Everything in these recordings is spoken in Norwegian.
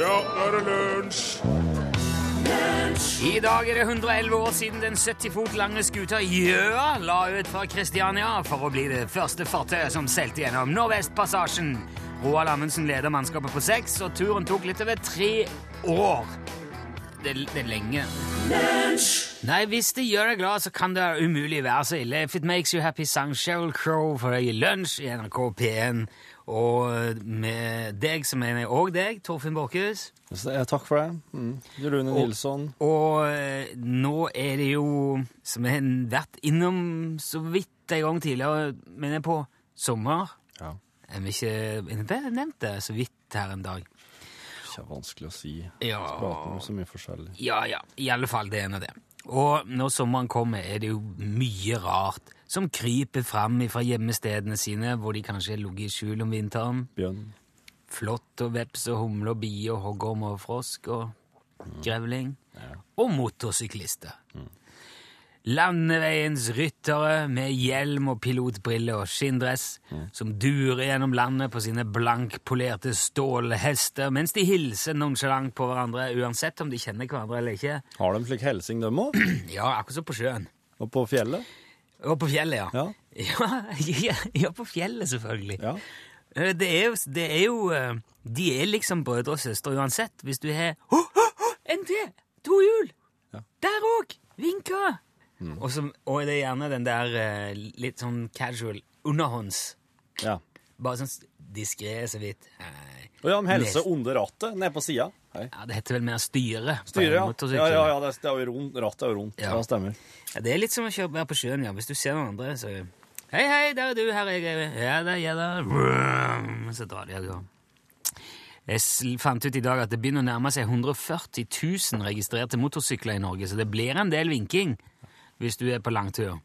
Ja, nå er det lunsj! I dag er det 111 år siden den 70 fot lange skuta Gjøa la ut fra Kristiania for å bli det første fartøyet som seilte gjennom Nordvestpassasjen. Roald Amundsen leder mannskapet på seks, og turen tok litt over tre år. Det, det er lenge. Nei, hvis det gjør deg glad, så kan det umulig være så ille. If it makes you happy, sang Sheryl Crow for deg i lunsj i NRK P1. Og med deg så mener jeg òg deg, Torfinn Borchhus. Så, ja, takk for det. Mm. Rune Nilsson. Og eh, nå er det jo, som jeg har vært innom så vidt en gang tidligere, men jeg er på sommer. Ja. Jeg vil ikke jeg ble nevnt det så vidt her en dag. Ikke vanskelig å si. Ja. Prate om så mye forskjellig. Ja, ja, i alle fall det ene det. Og når sommeren kommer, er det jo mye rart som kryper fram fra hjemmestedene sine, hvor de kanskje har ligget i skjul om vinteren. Bjørn. Flått og veps og humle og bie og hoggorm og frosk og Mm. grevling. Og motorsyklister. Landeveiens ryttere med hjelm og pilotbriller og skinndress som durer gjennom landet på sine blankpolerte stålhester mens de hilser nonsjalant på hverandre, uansett om de kjenner hverandre eller ikke. Har de slik helsing, de òg? Ja, akkurat som på sjøen. Og på fjellet? Og på fjellet, ja. Ja. ja, ja på fjellet, selvfølgelig. Ja. Eh, Det er, jo, det er jo eh, De er liksom brødre og søstre uansett. Hvis du har «Hå, hå, hå, en til! To hjul! Ja. Mm. Der òg! Vinka! Og, så, og det er gjerne den der eh, litt sånn casual underhånds. ja. Bare sånn diskré, så vidt. Hei. Og ja, de Nest- hilser under rattet, nede på sida. Hei. Ja, det heter vel mer styre. på Styret, ja. motorsykkel. Ja, ja, ja, det er jo rundt. Rattet er jo rundt. Ja. Ja, stemmer. Ja, det er litt som å kjøre være på sjøen, ja. Hvis du ser noen andre, så Hei, hei, der er du, her er jeg. Ja da, ja da. Vroom, Så drar de av gårde. Jeg s- fant ut i dag at det begynner å nærme seg 140 000 registrerte motorsykler i Norge, så det blir en del vinking hvis du er på langtur.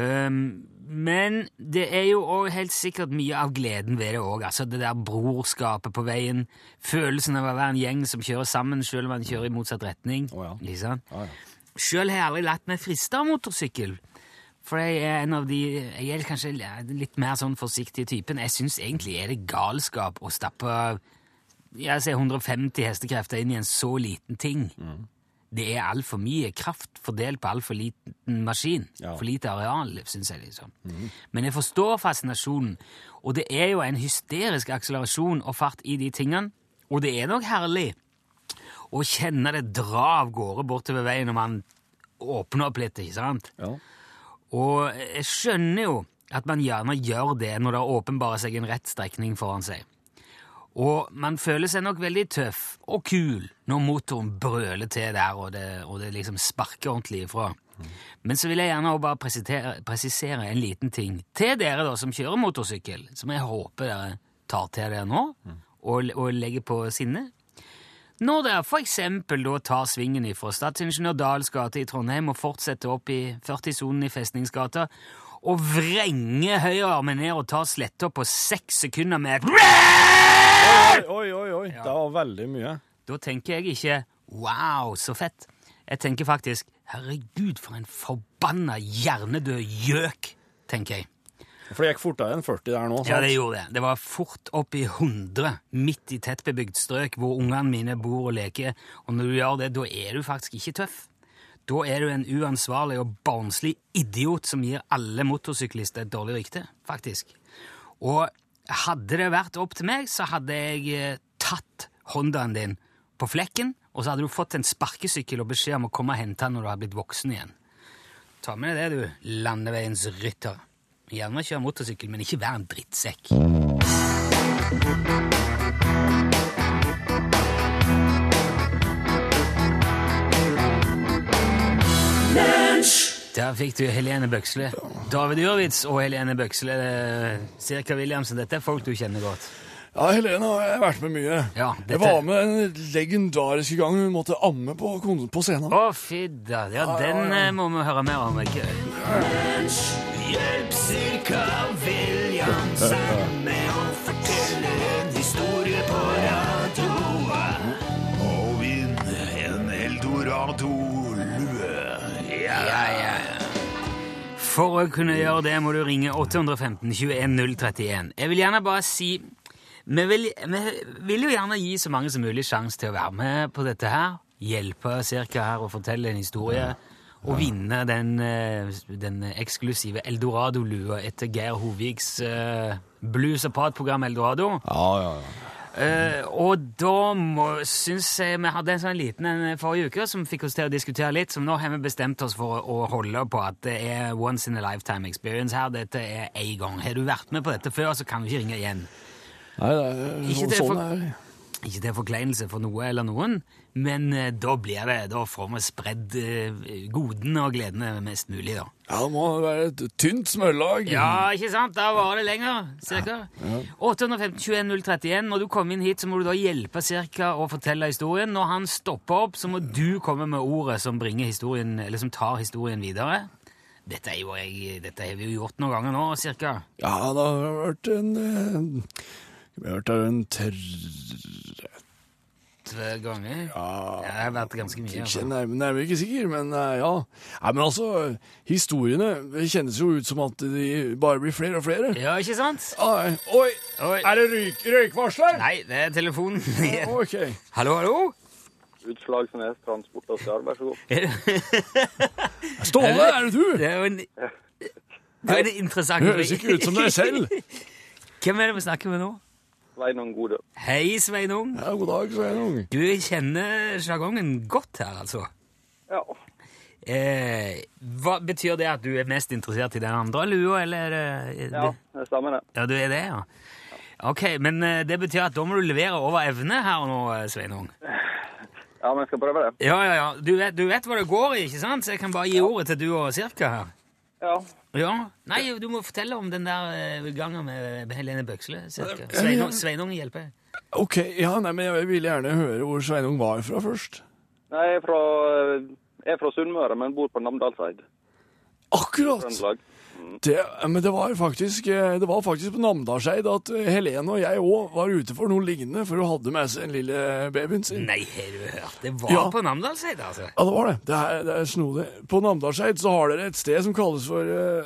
Ehm, men det er jo òg helt sikkert mye av gleden ved det òg. Altså det der brorskapet på veien, følelsen av å være en gjeng som kjører sammen, selv om man kjører i motsatt retning. Å ja. Ikke sant? Ja, ja. Sjøl har jeg aldri latt meg friste av motorsykkel. For jeg er en av de Jeg er kanskje den litt mer sånn forsiktige typen. Jeg syns egentlig er det galskap å stappe jeg ser 150 hestekrefter inn i en så liten ting. Det er altfor mye kraft fordelt på altfor liten maskin. Ja. For lite areal, syns jeg. liksom. Men jeg forstår fascinasjonen, og det er jo en hysterisk akselerasjon og fart i de tingene. Og det er nok herlig å kjenne det dra av gårde bortover veien når man åpner opp litt, ikke sant? Ja. Og jeg skjønner jo at man gjerne gjør det når det åpenbarer seg en rett strekning foran seg. Og man føler seg nok veldig tøff og kul når motoren brøler til der, og det, og det liksom sparker ordentlig ifra. Men så vil jeg gjerne også bare presisere, presisere en liten ting til dere da som kjører motorsykkel, som jeg håper dere tar til dere nå og, og legger på sinnet. Når dere for eksempel da tar svingen fra Stadsingeniør Dahls gate i Trondheim og fortsetter opp i 40-sonen i Festningsgata, og vrenger høyrearmen ned og tar sletta på seks sekunder med Oi, oi, oi. oi. Det var veldig mye. Da tenker jeg ikke 'wow, så fett'. Jeg tenker faktisk 'herregud, for en forbanna hjernedød gjøk', tenker jeg. For det gikk fortere enn 40 der nå. sant? Ja, det gjorde det. Det var fort opp i 100 midt i tettbebygd strøk hvor ungene mine bor og leker, og når du gjør det, da er du faktisk ikke tøff. Da er du en uansvarlig og barnslig idiot som gir alle motorsyklister et dårlig rykte, faktisk. Og hadde det vært opp til meg, så hadde jeg eh, tatt Hondaen din på flekken, og så hadde du fått en sparkesykkel og beskjed om å komme og hente den når du har blitt voksen igjen. Ta med deg det, du, landeveiens rytter. Gjerne kjør motorsykkel, men ikke vær en drittsekk. Der fikk du Helene Bøksle. David Jørvitz og Helene Bøksle. Cirka Williamsen, dette er folk du kjenner godt. Ja, Helene har jeg vært med mye. Ja, dette- Jeg var med den legendariske gangen hun måtte amme på, kon- på scenen. Å, fidda. Ja, den eh, må vi høre mer om. Ikke? Hjelp cirka Williamsen med å fortelle en historie på radioa. Og vinn en eldorado-lue. Ja. Ja, ja, ja. For å kunne gjøre det må du ringe 815 21 031. Jeg vil gjerne bare si Vi vil, vi vil jo gjerne gi så mange som mulig sjanse til å være med på dette her. Hjelpe cirka her og fortelle en historie. Og vinne den, eh, den eksklusive Eldorado-lua etter Geir Hoviks eh, blues- og pratprogram Eldorado. Ja, ja, ja. Eh, og da må, syns jeg vi hadde en sånn liten en forrige uke som fikk oss til å diskutere litt, så nå har vi bestemt oss for å, å holde på at det er once in a lifetime experience her. Dette er én gang. Har du vært med på dette før, så kan du ikke ringe igjen. Nei, det Ikke er det sånn for- det er. Ikke til forkleinelse for noe eller noen, men eh, da blir det, da får vi spredd eh, godene og gledene mest mulig, da. Ja, det må være et tynt smørlag. Ja, ikke sant? Da varer det lenger, cirka. 815 21 031. Når du kommer inn hit, så må du da hjelpe cirka å fortelle historien. Når han stopper opp, så må du komme med ordet som, bringer historien, eller som tar historien videre. Dette, er jo, jeg, dette har vi jo gjort noen ganger nå, cirka. Ja, det har vært en eh, Vi har vært der en tørr Tre ganger. Jeg har vært ganske mye. Ikke Altså. nærmere, nærmere ikke sikker, men eh, ja. Nei, men altså, historiene det kjennes jo ut som at de bare blir flere og flere. Ja, ikke sant? Ai, oi, Oi. er det røyk, røykvarsler? Nei, det er telefonen. Ok. hallo, hallo? Utslagsnes Transport og Stjal, vær så god. Ståle, er det du? Det er jo en, det er en interessant Det høres ikke ut som deg selv. Hvem er det vi snakker med nå? Sveinung Godø. Hei, Sveinung. Ja, god dag, Sveinung. Du kjenner sjargongen godt her, altså. Ja. Eh, hva Betyr det at du er mest interessert i den andre lua, eller? er det- ja, det stemmer det. ja, du er det, ja. Ok, men eh, det betyr at da må du levere over evne her nå, eh, Sveinung. Ja, men jeg skal prøve det. Ja, ja, ja. Du vet, du vet hva det går i, ikke sant? Så jeg kan bare gi ordet til du og Cirka her. Ja. Ja. Nei, du må fortelle om den der eh, gangen med Helene Bøksle, Cirka. Sveinung, Sveinung hjelper. Ok, ja, nei, men jeg ville gjerne høre hvor Sveinung var fra først. Nei, jeg er fra, jeg er fra Sunnmøre, men bor på Namdalseid. Akkurat! Trøndelag. Det, eh, men det var faktisk, eh, det var faktisk på Namdalseid at eh, Helene og jeg òg var ute for noe lignende, for hun hadde med seg den lille babyen sin. Nei, har du hørt? Det var Ja. på Namdalseid, altså. Ja, det var det. Det er, det er snodig. På Namdalseid så har dere et sted som kalles for eh,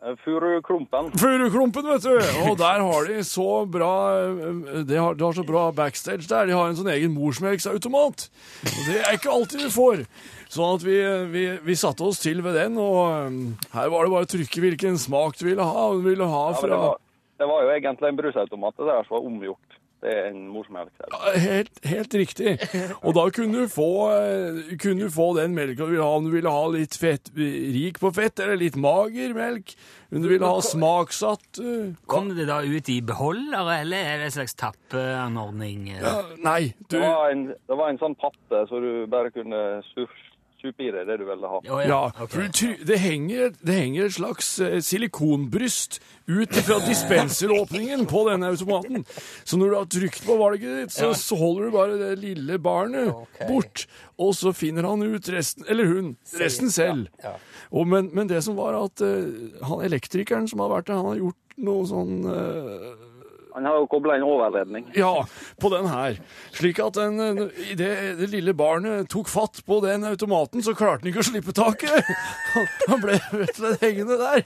Eh, Furuklumpen. Furuklumpen, vet du! Og der har de så bra eh, De har, de har så bra backstage der. De har en sånn egen morsmelksautomat. Og det er ikke alltid du får. Sånn at vi, vi, vi satte oss til ved den, og eh, her var det bare å trykke hvilken smak du ville ha. Og du ville ha Ja, men fra det, var, det var jo egentlig en brusautomat det der som var omgjort. Det er en morsmelk der. Helt, helt riktig. Og da kunne du få, eh, kunne du få den melka du ville ha, om du ville ha litt fett, rik på fett, eller litt mager melk, om du ville ha smaksatt eh, Kom det da ut i beholdere, eller er det en slags tappeanordning? eh? ja, Nei, du Det var en, det var en sånn patte så du bare kunne sur- supe i deg det du ville ha. Å, Ja, ok. for du try- det, henger, det henger et slags eh, silikonbryst ut fra dispenseråpningen på denne automaten. Så når du har trykt på valget ditt, så, så holder du bare det lille barnet bort, og så finner han ut resten, eller hun, resten selv. Og, men, men det som var at eh, han elektrikeren som har vært der, han har gjort noe sånn eh, Han har jo kobla inn overledning. ja, på den her. Slik at den, eh, i det, det lille barnet tok fatt på den automaten, så klarte han ikke å slippe taket. Han- Han ble rett og slett hengende der.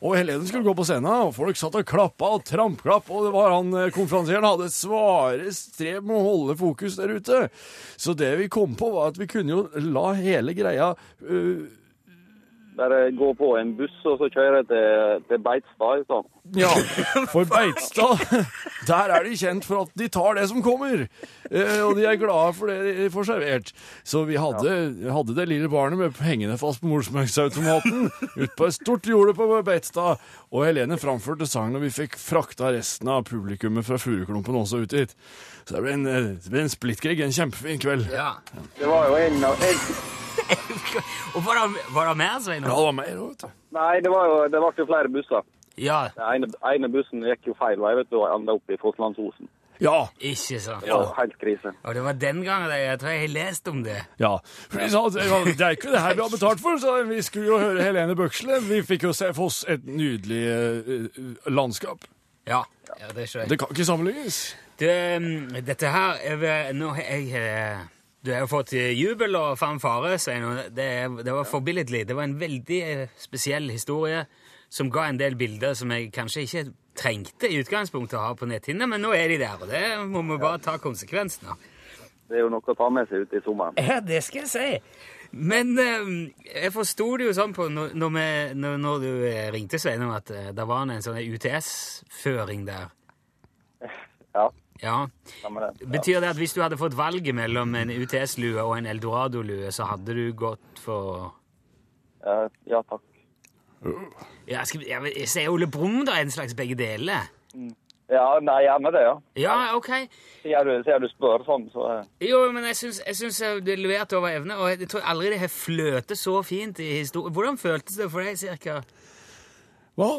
Og Helene skulle gå på scenen, og folk satt og klappa og trampklapp, og det var han eh, konferansieren hadde et svare strev med å holde fokus der ute. Så det vi kom på, var at vi kunne jo la hele greia eh, Bare gå på en buss, og så kjøre til, til Beitstad. Sånn. Ja, for Beitstad Der er de kjent for at de tar det som kommer. Eh, Og de er glade for det de får servert. Så vi hadde, hadde det lille barnet med hengende fast på morsmelksautomaten ut på et stort jorde på Beitstad. Og Helene framførte sangen, og vi fikk frakta resten av publikummet fra Furuklumpen også ut dit. Så det ble en, eh, det ble en splittkrig. En kjempefin kveld. Ja. Det var jo en, av- en Og var det, var det mer, Svein? Ja, det var mer òg, vet du. Nei, det, var jo, det ble jo flere busser. Ja, Den ene, ene bussen gikk jo feil vei vet du, og enda opp i Fosslandsosen. Ja. ikke sant? Det var Helt krise. Og det var den gangen jeg, jeg tror jeg har lest om det. Ja, for de sa at ja, det er ikke det her vi har betalt for, så vi skulle jo høre Helene Bøksle. Vi fikk jo se for oss et nydelig eh, landskap. Ja, ja det skjønner jeg. Det kan ikke sammenlignes. Du, eh, dette her er vel- Nå har jeg eh, Du har jo fått eh, jubel og fanfare, Svein. og Det, er- det var forbilledlig. Det var en veldig eh, spesiell historie som ga en del bilder som jeg kanskje ikke trengte i utgangspunktet å ha på netthinna, men nå er de der, og det må vi bare ta konsekvensen av. Det er jo noe å ta med seg ute i sommeren. Ja, det skal jeg si. Men eh, jeg forsto det jo sånn på når, når, vi, når, når du eh, ringte, Sveinung, at eh, det var en sånn UTS-føring der. Ja, Ja. stemmer det. Ja. Betyr det at hvis du hadde fått valget mellom en UTS-lue og en Eldorado-lue, så hadde du gått for Eh, ja, takk. Ja, skal, vi- ja, men jeg ser Ole Brumm, da, en slags begge deler. Ja, nei, gjerne det, ja. Ja, ok. Sier du, sier du spør sånn, så eh, Jo, men jeg syns, jeg syns jeg ble levert over evne, og jeg tror aldri det har fløtet så fint i historien. Hvordan føltes det for deg, cirka? Hva?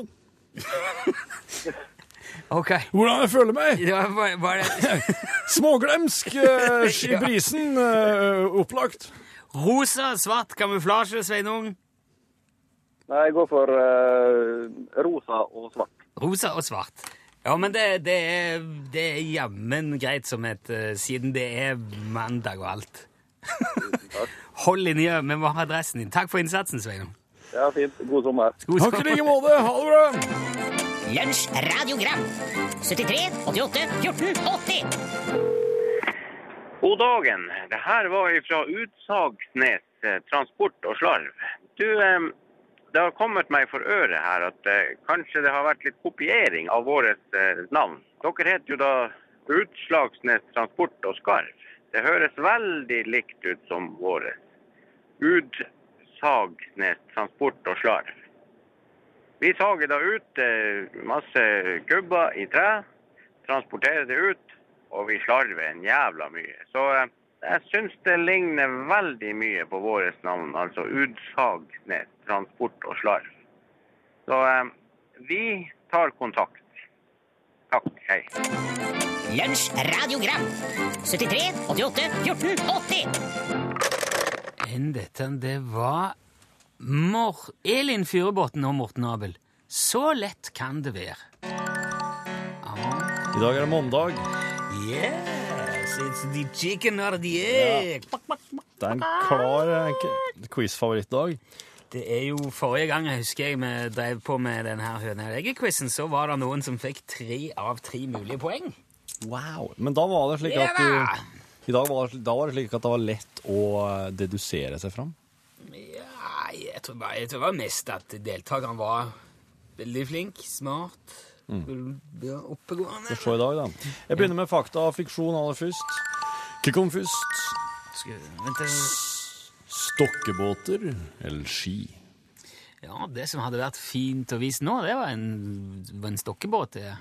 Ok. Hvordan jeg føler meg? Det var, var, var det Småglemsk eh, i brisen. eh, opplagt. rosa, svart kamuflasje, Sveinung? Nei, jeg går for eh, rosa og svart. Rosa og svart. Ja, men det, det er, det er jammen greit som et eh, Siden det er mandag og alt. Hold linja, vi må ha adressen din. Takk for innsatsen, Sveinung. Det er fint. God sommer. God Takk i like måte. Ha det bra. Lunsj, radiogram 73, 88, 14, 80 God dagen. Det her var fra Utsagsnes eh, transport og slarv. Du, eh, det har kommet meg for øret her at eh, kanskje det har vært litt kopiering av vårt eh, navn. Dere heter jo da Utslagsnes transport og skarv. Det høres veldig likt ut som vårt. Utsagsnes transport og slarv. Vi sager da ut eh, masse gubber i tre transportere det ut, og vi slarver en jævla mye. Så eh, jeg syns det ligner veldig mye på vårt navn, altså Udsagnet transport og slarv. Så eh, vi tar kontakt. Takk, hei. Lunsj, radiogram 73, 88, 14, 80 enn dette. Det var Mor Elin Fyrebotn og Morten Abel. Så lett kan det være. I dag er det mandag. Yes, it's the chicken or the egg. Det er en klar eh, k- quiz-favorittdag. Det er jo forrige gang jeg husker jeg vi drev på med denne her høne- og egget-quizen, så var det noen som fikk tre av tre mulige poeng. Wow. Men da var det slik Ja at da! du I dag var det, da var det slik at det var lett å eh, dedusere seg fram. Nei, jeg tror, bare, jeg tror bare mest at deltakeren var veldig flink, smart, Mm. ja, oppegående. Så i dag, da. Jeg begynner med fakta og fiksjon aller først. Kikkom først. Skal- Vent, jeg- Stokkebåter eller ski? Ja, det som hadde vært fint å vise nå, det var en, var en stokkebåt. det.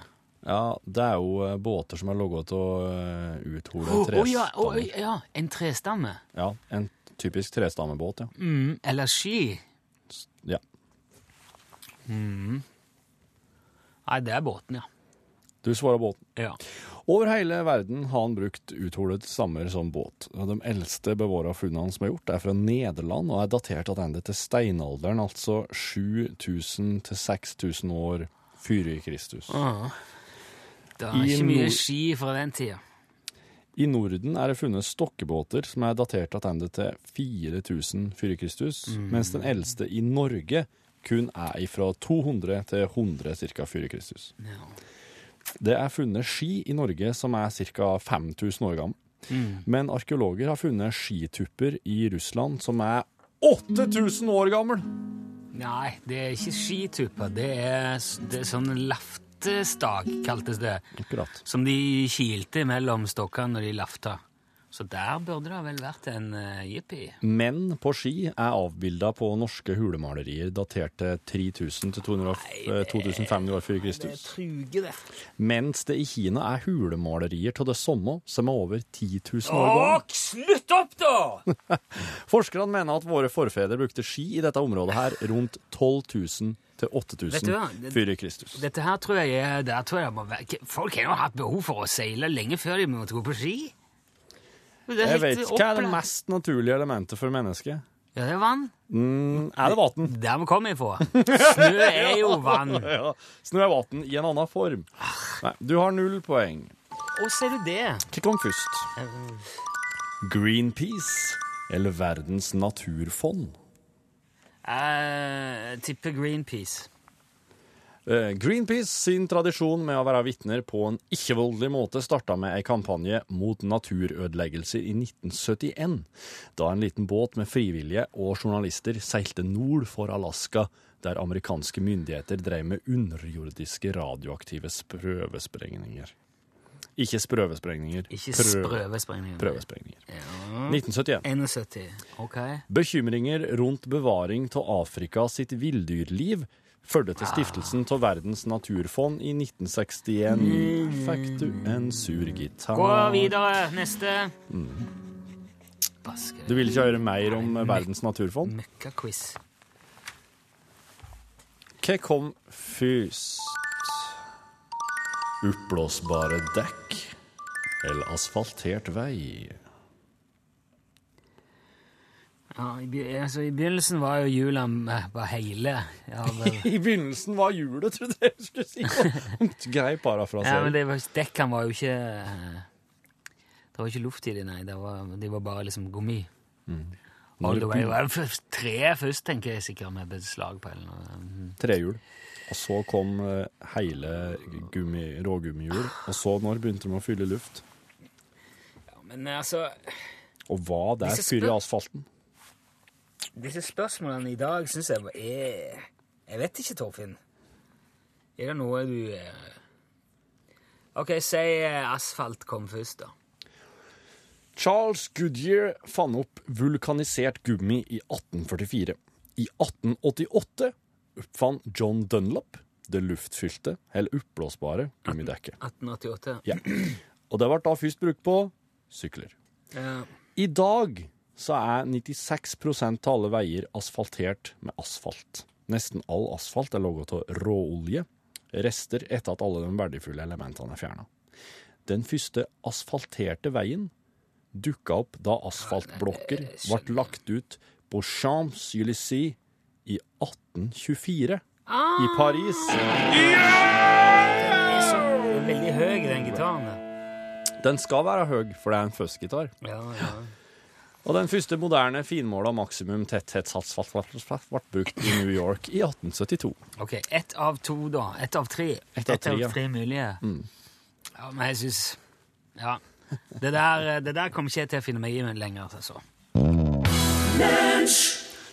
Ja, det er jo eh, båter som er logget av uh, uthola Å å, ja, å, trestamme. ja, en trestamme. Ja, en typisk trestammebåt, ja. Mm, eller ski. ja. Nei, det er båten, ja. Du svarer båten. ja. Over hele verden har han brukt utholet stammer som båt. Og De eldste bevara funnene som er gjort, er fra Nederland og er datert tilbake til steinalderen, altså 7000 til 6000 år før Kristus. Det I er ikke mye nord- ski fra den tida. I Norden er det funnet stokkebåter som er datert tilbake til 4000 før Kristus, mens den eldste i Norge kun er fra 200 til 100 ca. før Kristus. Ja. Det er funnet ski i Norge som er ca. 5000 år gammel. Men arkeologer har funnet skitupper i Russland som er 8000 år gammel! Nei, det er ikke skitupper. Det er, s- det er sånn laftestag, kaltes det. Akkurat. Som de kilte mellom stokkene når de lafta. Så der burde det vel vært en uh, jippi. Menn på ski er avbilda på norske hulemalerier datert til 3000 til 200 2500 år før Kristus. truger, det. Mens det i Kina er hulemalerier av det samme som er over 10 000 år gamle. Og slutt opp, da! Forskerne mener at våre forfedre brukte ski i dette området her rundt 12 000 til Vet du hva? 8000 Det- før Kristus. Dette her tror jeg er der tror jeg det må være. Folk har jo hatt behov for å seile lenge før de måtte gå på ski. Det er Jeg helt vet ikke hva er det opplagt. mest naturlige elementet for mennesket. Ja, det er vann. Mm, er det vann? Der vi kommer ifra. Snø er jo vann. Ja, Snø er vann i en annen form. Nei, du har null poeng. Å, ser du det? Hva kom først? Ehm. Greenpeace eller Verdens naturfond? Jeg tipper Greenpeace. Eh, Greenpeace sin tradisjon med å være vitner på en ikke-voldelig måte starta med ei kampanje mot naturødeleggelser i 1971, da en liten båt med frivillige og journalister seilte nord for Alaska, der amerikanske myndigheter drev med underjordiske radioaktive prøvesprengninger. Ikke sprøvesprengninger. Ikke prøve- sprøvesprengninger. Prøvesprengninger. Ja. 1971. 71. Ok. Bekymringer rundt bevaring av Afrika sitt villdyrliv førte til stiftelsen av Verdens naturfond i 1961. Fikk du en sur gitar? Gå videre. Neste. Basker. Du vil ikke høre mer om Verdens naturfond? Møkkaquiz. Hva kom først? Oppblåsbare dekk eller asfaltert vei? Ja, i, be- altså, I begynnelsen var jo jula eh, bare hele. Ja, men, I begynnelsen var hjulet, trodde jeg du skulle si. Grei ja, men parafrasering. det var, dekkene var jo ikke eh, Det var ikke luft i de, nei. Det var, de var bare liksom gummi. Og det var det var først tre først, tenker jeg sikkert, med beslag på. Eller noe. Mhm. trehjul. Og så kom eh, hele gummi, rågummihjul. Og så når begynte de å fylle luft? Ja, men eh, altså, Og hva der Disse fyrer i spør- asfalten? disse spørsmålene i dag syns jeg var- er Jeg vet ikke, Torfinn. Er det noe du eh, OK, si eh, asfalt kom først, da. Charles Goodyear fant opp vulkanisert gummi i 1844. I 1888 oppfant John Dunlop det luftfylte, eller oppblåsbare, gummidekket. 1888. Ja. Og det ble da først brukt på sykler. Ja. I dag så er 96 av alle veier asfaltert med asfalt. Nesten all asfalt er laget av råolje, rester etter at alle de verdifulle elementene er fjerna. Den første asfalterte veien dukka opp da asfaltblokker ble lagt ut på Champs-Élysées i 1824 i Paris. Den er så veldig høy, den gitaren. der. Den skal være høy, for det er en fuzzgitar. Ja, ja. Og den første moderne finmåla maksimum tetthetsasfalt ble brukt i New York i 1872. Ok, ett av to, da. Ett av tre. Ett av tre, ja. Mm. mulige. Ja, men jeg syns Ja. Det der, eh, det der kommer ikke jeg til å finne meg i lenger. Altså.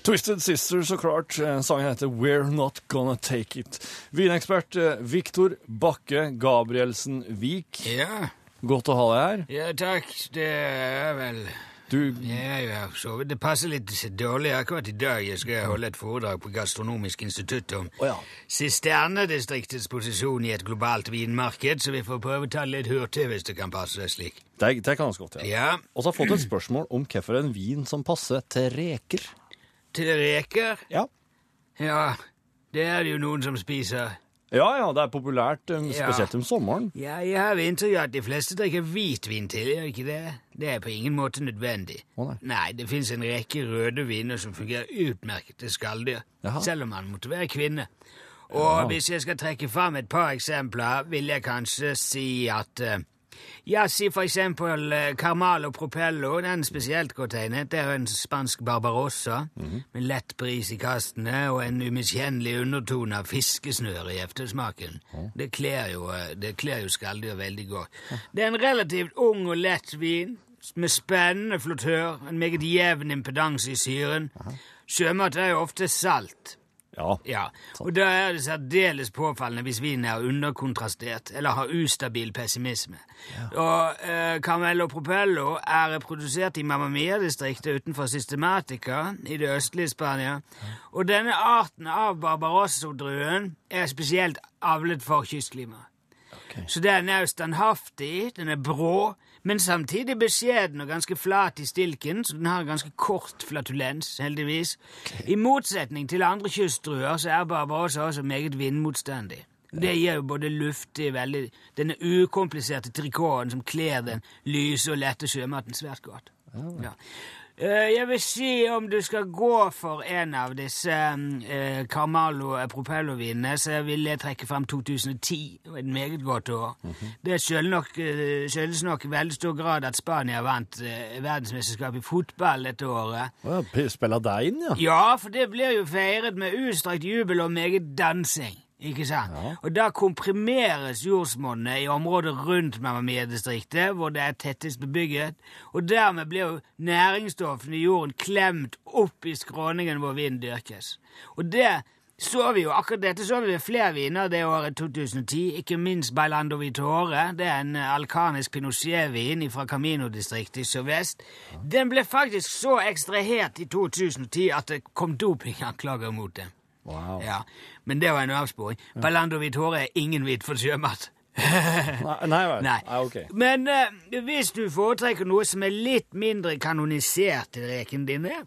Twisted Sister, så klart. Eh, Sangen heter We're Not Gonna Take It. Vinekspert eh, Viktor Bakke Gabrielsen Vik. Ja, Godt å ha deg her. takk. Det er vel Du, ja, ja, så vidt. Det passer litt dårlig akkurat i dag. Jeg Mm. skal holde et foredrag på Gastronomisk institutt om Å ja. sisternedistriktets posisjon i et globalt vinmarked, så vi får prøve å ta det litt hurtig hvis det kan passe deg slik. Det, det kan vi godt gjøre. Ja, Og så har jeg fått et spørsmål om hvorfor en vin som passer til reker. til reker. Ja, Ja, det er det jo noen som spiser. ja, ja det er populært, eh, Ja. spesielt om sommeren. Ja, jeg har inntrykk av at de fleste drikker hvitvin til, gjør ikke det? Det er på ingen måte nødvendig. Å, nei. det fins en rekke røde viner som fungerer utmerket til skalldyr, Jaha. selv om man måtte være kvinne. Og hvis jeg skal trekke fram et par eksempler, vil jeg kanskje si at eh, ja, si for eksempel eh, Carmalo Propello, den spesielt godt egnet. Det er en spansk barbarossa med lett bris i kastene og en umiskjennelig undertone av fiskesnøre i eftersmaken. Det kler jo, eh, det kler jo skalldyr veldig godt. Det er en relativt ung og lett vin med spennende flottør, en meget jevn impedans i syren. Sjømat er jo ofte salt. Ja. Ja, og da er det særdeles påfallende hvis vinen er underkontrastert eller har ustabil pessimisme. Og eh, Carmelo Propello er produsert i Mamma Mia-distriktet utenfor Systematica i det østlige Spania. Og denne arten av barbarosso-druen er spesielt avlet for kystklimaet. Så den er jo standhaftig, den er brå, men samtidig beskjeden og ganske flat i stilken, så den har ganske kort flatulens, heldigvis. I motsetning til andre kystdruer, så er Barbarossa også meget vindmotstandig. Det gir jo både luftig, veldig Denne ukompliserte trikoten som kler den lyse og lette sjømaten svært godt. Ja. Eh, Jeg vil si om du skal gå for en av disse eh, Carmalo eh, Propello-vinene, så vil jeg trekke fram 2010. Det var Et meget godt år. Det skyldes nok, eh, skyldes nok i veldig stor grad at Spania vant eh, verdensmesterskapet i fotball dette året. Å ja, p- Spiller deg inn, ja. Ja, for det blir jo feiret med utstrakt jubel og meget dansing. Ikke sant? Og da komprimeres jordsmonnet i området rundt Mamma Mia-distriktet, hvor det er tettest bebygget, og dermed blir jo næringsstoffene i jorden klemt opp i skråningen hvor vinen dyrkes. Og det så vi jo, akkurat dette så vi ved flere viner det året 2010, ikke minst Bailando Vitore, det er en eh, alkanisk pinochet-vin fra Camino-distriktet i sørvest. Den ble faktisk så ekstrahert i 2010 at det kom dopinganklager mot den. Wow. Ja, men det var en avsporing. Parlando Vitore er ingen hvit for sjømat. Nei, nei vel. Nei. ah, Nei, ok. Men eh, hvis du foretrekker noe som er litt mindre kanonisert til rekene dine,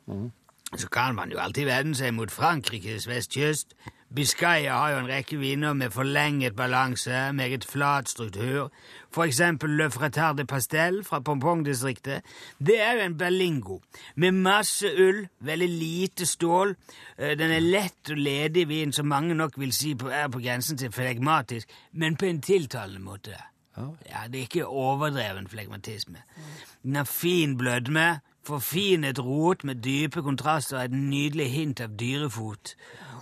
så kan man jo alltid vende seg mot Frankrikes vestkyst. Biscaya har jo en rekke viner med forlenget balanse, meget flat struktur. For eksempel Le Fretard de Pastel fra Pompong-distriktet. Det er jo en berlingo med masse ull, veldig lite stål. Eh, Den er lett og ledig vin, som mange nok vil si på- er på grensen til flegmatisk, men på en tiltalende måte. Ja, det er ikke overdreven flegmatisme. Den har fin blødme, forfinet rot med dype kontraster og et nydelig hint av dyrefot.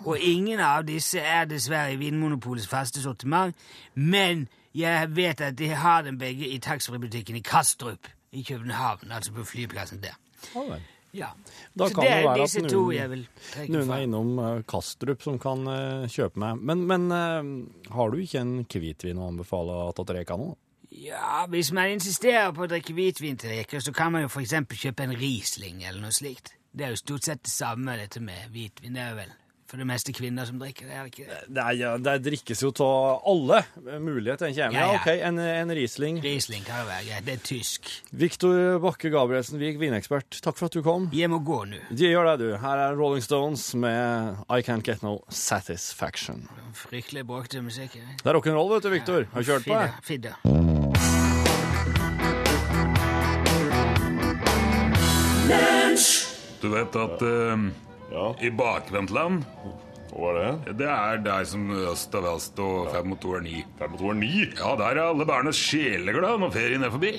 Og ingen av disse er dessverre i Vinmonopolets faste sortiment, men jeg vet at de har dem begge i taxfree-butikken i Kastrup i København, altså på flyplassen der. Ja, vel. Ja. Da Så kan det det være er at disse to noen- jeg vil trekke Noen er fra. innom eh, Kastrup som kan eh, kjøpe meg. Men, men eh, har du ikke en hvitvin å anbefale at dere kan nå? Ja, hvis man insisterer på å drikke hvitvin til reker, så kan man jo for eksempel kjøpe en Riesling eller noe slikt. Det er jo stort sett det samme, dette med hvitvin. Det er jo vel for det meste kvinner som drikker det, er det ikke det? Det, er, ja, det drikkes jo av alle mulighet, tenker jeg. Men Ja, ja, ja. ok, en, en Riesling. Riesling kan jo være greit. Det er tysk. Viktor Bakke Gabrielsen Wiik, vinekspert, takk for at du kom. Jeg må gå nå. De gjør det, du. Her er Rolling Stones med I Can't Get No Satisfaction. Fryktelig bråkete musikk. jeg. Det er rock'n'roll, vet du, Viktor. Har du kjørt på? Fidda, jeg? Fidda. Du vet at eh, i bakvendtland, Hva er det? det er der som øst og vest og fem og to er ni. Det er motor 9. Ja, der er alle bærene sjeleglad når ferien er forbi.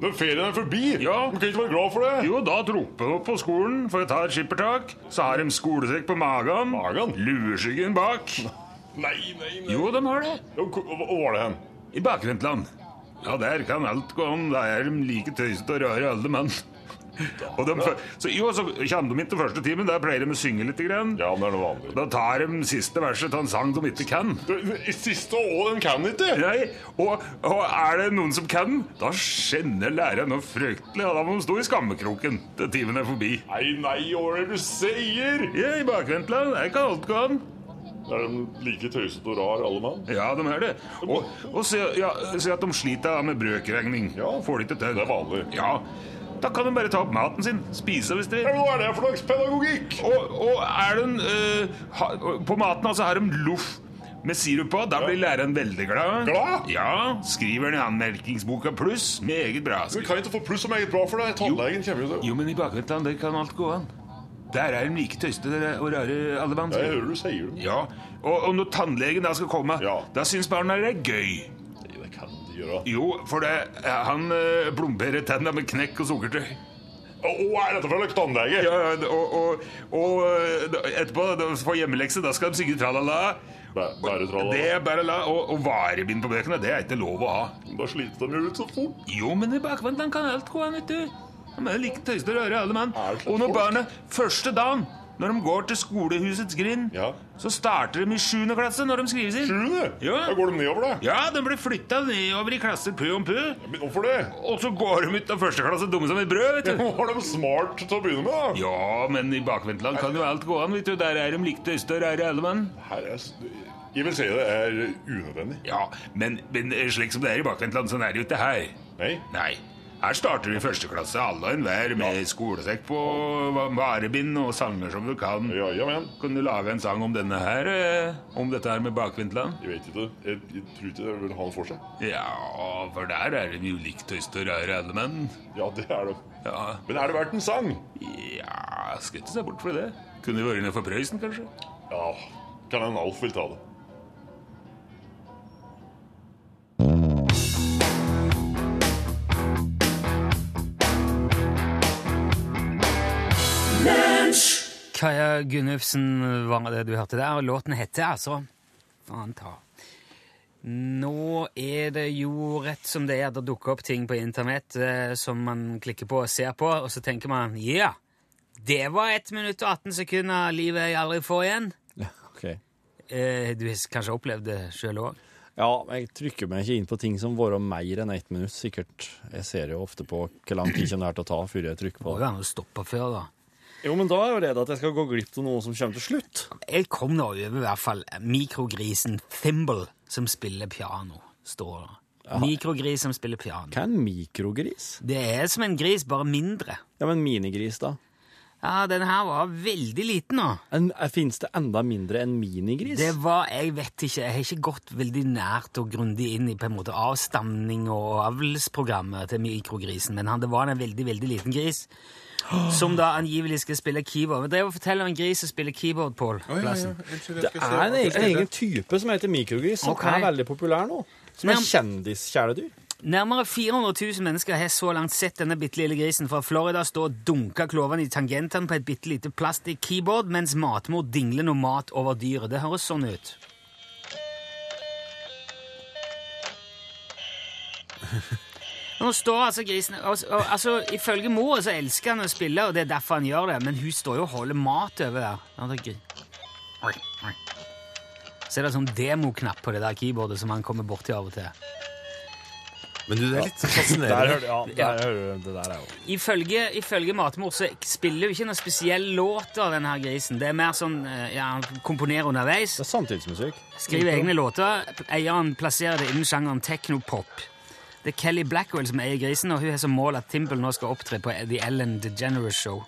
Når ferien er forbi! Ja. Du kan ikke være glad for det! Jo, da dropper de opp på skolen for å ta et skippertak. Så har de skolesekk på magen. Magen? Lueskyggen bak. Nei, nei, nei. Jo, de har det. Jo, hvor- Hva hva var det hen? I bakvendtland. Ja, der kan alt gå an. Der er de like tøysete og rare alle menn. Og de, fø- så, jo, så kommer de ikke første timen. Der pleier de å synge litt. Grann. Ja, men det er noe vanlig. Da tar de siste verset til en sang de ikke kan. Du, i Siste år, den kan ikke! Nei, og, og er det noen som kan den, da skjenner læreren noe fryktelig. og Da må de stå i skammekroken til timen er forbi. Nei, nei, hva er det du sier? Ja, I bakvendtland er ikke alt gå an. Er de like tøysete og rar, alle mann? Ja, de er det. Og, og se, ja, se at de sliter med brøkregning. Ja. Får de ikke til. Det er vanlig. Ja. Da kan de bare ta opp maten sin, spise hvis de Ja, men Hva er det for slags pedagogikk? Og, og er den eh, ha, På maten altså har de loff med sirup på. Da blir læreren veldig glad. Glad? Ja, Skriver den i anmerkningsboka pluss. Meget bra. Vi kan ikke få pluss og meget bra for det. Tannlegen kommer jo til Jo, men i bakvendtland der kan alt gå an. Der er de like tøyste og rare alle mann. Ja, Jeg hører du sier det. Ja, og, og når tannlegen da skal komme, Ja. da syns barna det er gøy. Nei, det kan de gjøre. Jo, for det, han eh, plomberer tenna med knekk og sukkertøy. Å, å, er dette fra Løkke tannlege? Ja, ja, og, og, og eh, da- etterpå, da får hjemmelekse, da skal de synge tralala. Bæ- Bære tralala. Det er tralala. Og, og varebind på bøkene, det er ikke lov å ha. Da sliter de jo ut så fort. Jo, men i bakvendtland kan alt gå an, vet du. De er like tøyste og rare, alle mann. Er det Og når folk? barna første dagen, når de går til skolehusets grind, Ja. så starter de i sjuende klasse når de skrives inn. Sjuende? Ja. Da går de nedover, da. Ja, de blir flytta nedover i klasser pø om pø. Men Hvorfor det? Og så går de ut av første klasse dumme som et brød, vet du. Var de smart til å begynne med, da? Ja, men i bakvendtland kan jo alt gå an, vet du. Der er de like tøyste og rare alle mann. Her er, s- jeg vil si det er unødvendig. Ja, men, men eh, slik som det er i bakvendtland, sånn er det jo ikke her. Nei. Nei. Her starter du i første klasse, alle og enhver, med skolesekk på, va- varebind og sanger som du kan. Ja, ja, men. Kan du lage en sang om denne her? eh, Om dette her med bakvendtland? Jeg vet ikke. Jeg, jeg tror ikke jeg vil ha det for seg. Ja, for der er de jo like tøyste og rare alle mann. Ja, det er det. Ja. Men er det verdt en sang? Ja, skal ikke se bort fra det. Kunne vært inne for Prøysen, kanskje? Ja. Kan en Alf vil ta det? Kaja Gunnufsen var det du hørte der, og låten heter altså faen ta. Nå er det jo rett som det er at det dukker opp ting på internett eh, som man klikker på og ser på, og så tenker man ja, det var 1 minutt og 18 sekunder av livet jeg aldri får igjen. Ja, ok. Eh, du har kanskje opplevd det sjøl òg? Ja, men jeg trykker meg ikke inn på ting som varer mer enn ett minutt, sikkert. Jeg ser jo ofte på hvor lang tid kommer det her til å ta før jeg trykker på Må jo det. være noe stoppa før, da. Jo, men da er jeg jo redd at jeg skal gå glipp av noe som kommer til slutt. Jeg kom da over i hvert fall mikrogrisen Thimble, som spiller piano, står det. Mikrogris som spiller piano. Hva er en mikrogris? Det er som en gris, bare mindre. Ja, men minigris, da? Ja, den her var veldig liten nå. En, Fins det enda mindre enn minigris? Det var, jeg vet ikke, jeg har ikke gått veldig nært og grundig inn i på en måte avstamning og avlsprogrammet til mikrogrisen, men han, det var en veldig, veldig liten gris, som da angivelig skal spille keyboard. Men det er å fortelle om en gris som spiller keyboard, Paul. Plassen. Det er en egen, en egen type som heter mikrogris, som Ok. er veldig populær nå. Som er Men- kjendiskjæledyr. Nærmere 400 000 mennesker har så langt sett denne bitte lille grisen fra Florida stå og dunke klovene i tangentene på et bitte lite plastikk-keyboard, mens matmor dingler noe mat over dyret. Det høres sånn ut. Nå står altså grisen og, og, altså, Ifølge mor så elsker han å spille, og det er derfor han gjør det, men hun står jo og holder mat over der. Ja, det er gri- Oi, oi. Så er det sånn demoknapp på det der keyboardet som han kommer borti av og til. Men du, det er litt Der fascinerende. hører, ja, Ja. der hører du det der er jo Ifølge, ifølge matmor så spiller hun ikke noen spesiell låt av denne her grisen. Det er mer sånn eh, ja, han komponerer underveis, Det er samtidsmusikk. skriver egne låter. Eieren plasserer det innen sjangeren technopop. Det er Kelly Blackwell som eier grisen, og hun har som mål at Timble nå skal opptre på The Ellen DeGeneres Show.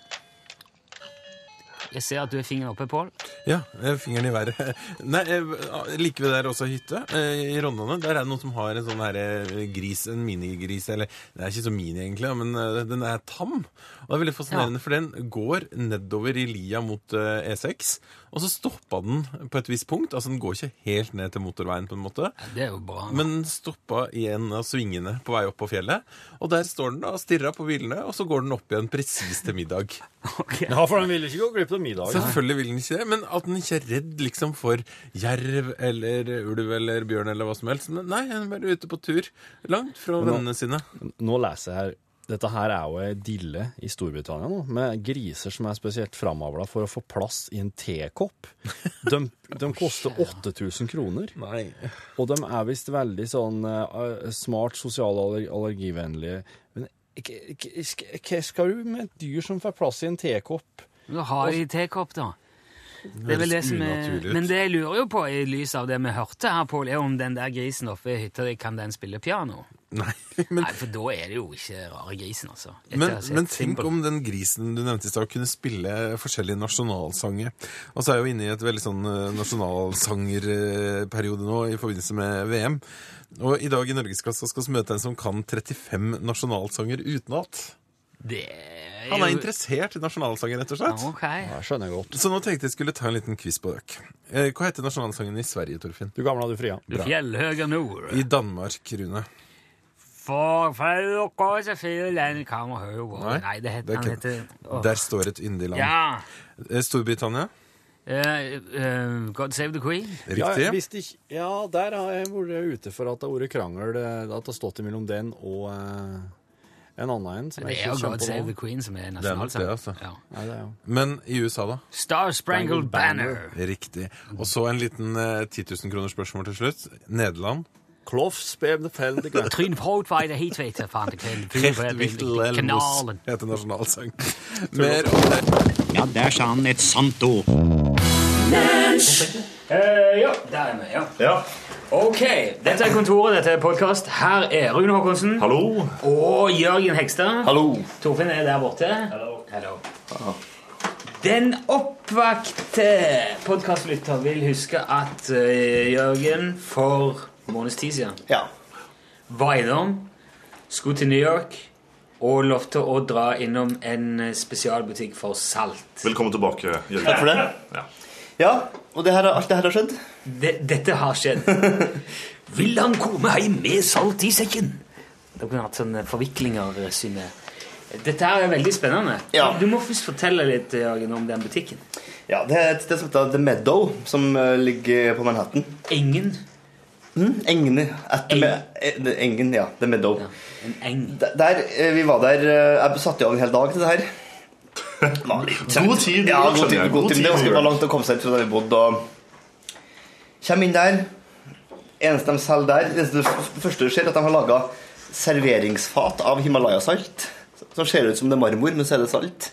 Jeg ser at du har fingeren oppe, Pål. Ja, eh, fingeren i været. Nei, eh, like ved der også hytte, eh, i Rondane, der er det noen som har en sånn her eh, gris, en minigris, eller det er ikke så mini egentlig, men eh, den er tam. Og det er veldig fascinerende, for den går nedover i lia mot eh, E6, og så stoppa den på et visst punkt, altså den går ikke helt ned til motorveien på en måte, Det er jo bra. men den stoppa i en av svingene på vei opp på fjellet, og der står den da og stirrer på bilene, og så går den opp igjen presis til middag. Ok. Ja, for den vil ikke gå glipp av middagen. Selvfølgelig vil den ikke det, men at den ikke er redd liksom for jerv eller ulv eller bjørn eller hva som helst. Men nei, den er bare ute på tur, langt fra vennene sine. Nå leser jeg her Dette her er jo ei dille i Storbritannia nå, med griser som er spesielt framavla for å få plass i en tekopp. De, de koster 8000 kroner. Nei. Og de er visst veldig sånn eh, smart, sosiale, aller allergivennlige. Men k- k- sk- hva skal du med et dyr som får plass i en tekopp? Da har de tekopp, da. Det er vel det høres som er, unaturlig ut. men det jeg lurer jo på, i lys av det vi hørte her, Pål, er om den der grisen oppe i hytta, kan den spille piano? nei. Men, Nei, for da er det jo ikke rare grisen, altså. Etter men, å ha sett men tenk Simple. om den grisen du nevnte i stad, kunne spille forskjellige nasjonalsanger. Og så er jeg jo inne i et veldig sånn eh, nasjonalsangerperiode nå i forbindelse med VM. Og i dag i Norgesklasse skal vi møte en som kan 35 nasjonalsanger utenat. Det er Han er jo- interessert i nasjonalsanger, rett og slett. Ok. Det skjønner jeg godt. Så nå tenkte jeg skulle ta en liten quiz på dere. Eh, Hva heter nasjonalsangen i Sverige, Torfinn? Du gamla, du fria. Du fjellhøge nord. I Danmark, Rune. For folk og så fjellen kommer høyere. Nei, Nei, det heter, det er han ikke- heter... Åh. Der står et yndig land. Ja. Eh, Storbritannia. Eh, eh, God save the queen. Ja, Riktig. hvis det ikke- ja, der har jeg vært ute for at det har vært krangel. eh, At det har stått mellom den og eh, en annen en. Som Det jeg er jo ikke God kommer save på the nå. queen som er det, nasjonalsang. altså. Ja. Nei, det er jo. Men i USA, da? Star Sprangled Banner. Riktig. Og så en liten eh, 10 000 kroner spørsmål til slutt. Nederland. Kloff, spem, det fell, det grønne. Tryn Prout var i det hit, vet jeg, faen. Det kan- Hertwigdelmos Kanalen. heter nasjonalsang. Mer om det. Ja, der sa han et sant ord. Eh, ja, der er vi, ja. Ok, dette er kontoret, dette er podcast. Her er Rune Håkonsen. Hallo? Og Jørgen Hegstad. Hallo. Torfinn er der borte. Hallo. Den oppvakte podkastlytter vil huske at eh, Jørgen for en måneds tid siden Ja. var innom, skulle til New York og lovte å dra innom en eh, spesialbutikk for salt. Velkommen tilbake, Jørgen. Takk for det. Ja. Ja, og det her, alt det her har skjedd? De, dette har skjedd. Vil han komme hjem med salt i sekken? Dere har hatt sånne forviklinger, Synne. Dette her er veldig spennende. Ja. Du må først fortelle litt Jørgen, eh, om den butikken. Ja, Det er et sted som heter The Meadow, som eh, ligger på Manhattan. Engen? Mm, Engene. At the Me- eh, the- Engen, ja. The Meadow. en eng. Der, eh, vi var der eh, Jeg satte jo av en hel dag til det her. Det var litt trøtt. God tid, Ja, god skjønner tid, jeg. god God tid. tid, Det var gjør ganske det. langt å komme seg ut fra der vi bodde. Og... Kjem inn der. Eneste de selger der Det eneste- det første du ser, er at de har laga serveringsfat av Himalaya-salt. Som ser ut som det er marmor, men så er det salt.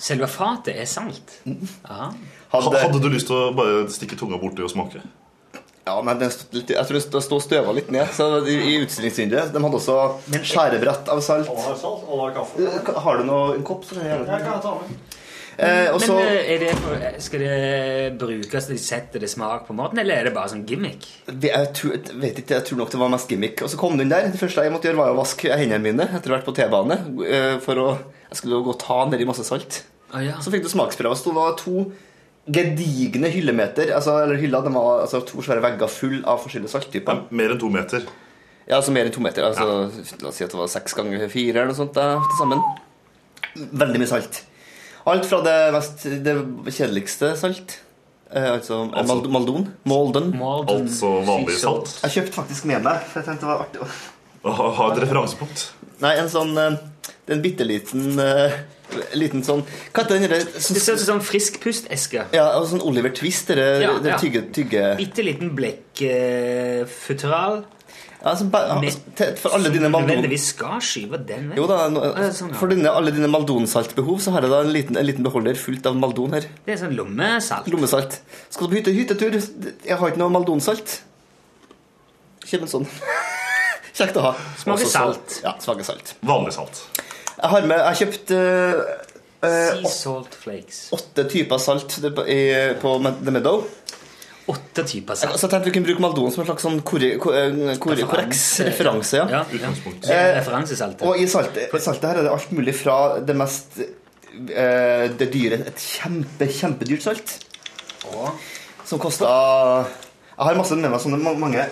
Selve fatet er salt? Mm. Aha. Hadde, hadde du lyst til å bare stikke tunga borti og smake? Ja, men den stod litt, jeg tror det stod- stod støva litt ned så i, i utstillingsvinduet. De hadde også skjærebrett av salt. Eh, Har du noe, en kopp? Så kan jeg gjerne ta den. Eh, og Men så- eh, er det for, skal det brukes til de setter det smak på maten, eller er det bare sånn gimmick? Det, jeg, tror, jeg vet ikke, jeg tror nok det var mest gimmick. Og så kom den der. Det første jeg måtte gjøre, var å vaske hendene mine etter hvert på T-bane. eh, For å, jeg skulle jo gå og ta nedi masse salt. Ah, Så fikk du smaksprøve. Så det var to gedigne hyllemeter. Altså, eller hylla, de var altså, to svære vegger full av forskjellige salttyper. mer enn to meter? Ja, altså mer enn to meter. Altså, La oss si at det var seks ganger fire eller noe sånt da, til sammen. Veldig mye salt. Alt fra det, mest, det kjedeligste salt eh, altså, Altså- Mald Maldon. Molden. Altså vanlig salt? Jeg kjøpte faktisk med meg, for jeg tenkte det var artig. å- Ha, ha et referansepunkt. Nei, en sånn eh, Det er en bitte liten eh, Liten sånn Hva heter den der Det ser ut som sånn frisk pusteske. Ja, og sånn Oliver Twist, det Ja, ja, ja. tygge... tygge Bitte liten blekkfutteral. altså, for alle dine Som maldon- du nødvendigvis skal skyve den vekk. jo da, nå- Å, ja, sånn, ja. For dine, alle dine maldonsaltbehov så har jeg da en liten, en liten beholder fullt av maldon her. Det er sånn lommesalt. Lommesalt. Skal du på hytte, hyttetur? Jeg har ikke noe maldonsalt. Kjem en sånn. Kjekt å ha. Smaker Også så- salt. Ja, smaker salt. Vanlig salt. Jeg har med Jeg har kjøpt eh, eh, Sea salt flakes. åtte typer salt det- på- i- på Med- The Meadow. Åtte typer salt. Så jeg tenkte vi kunne bruke Maldon som en slags sånn korre- ko- eh, korre- korreks referanse. ja. Utgangspunkt. Eh, Referansesaltet. Og i saltet, saltet her er det alt mulig fra det mest eh, det dyre Et kjempe, kjempedyrt salt. Som kosta Jeg har masse med meg sånne ma- mange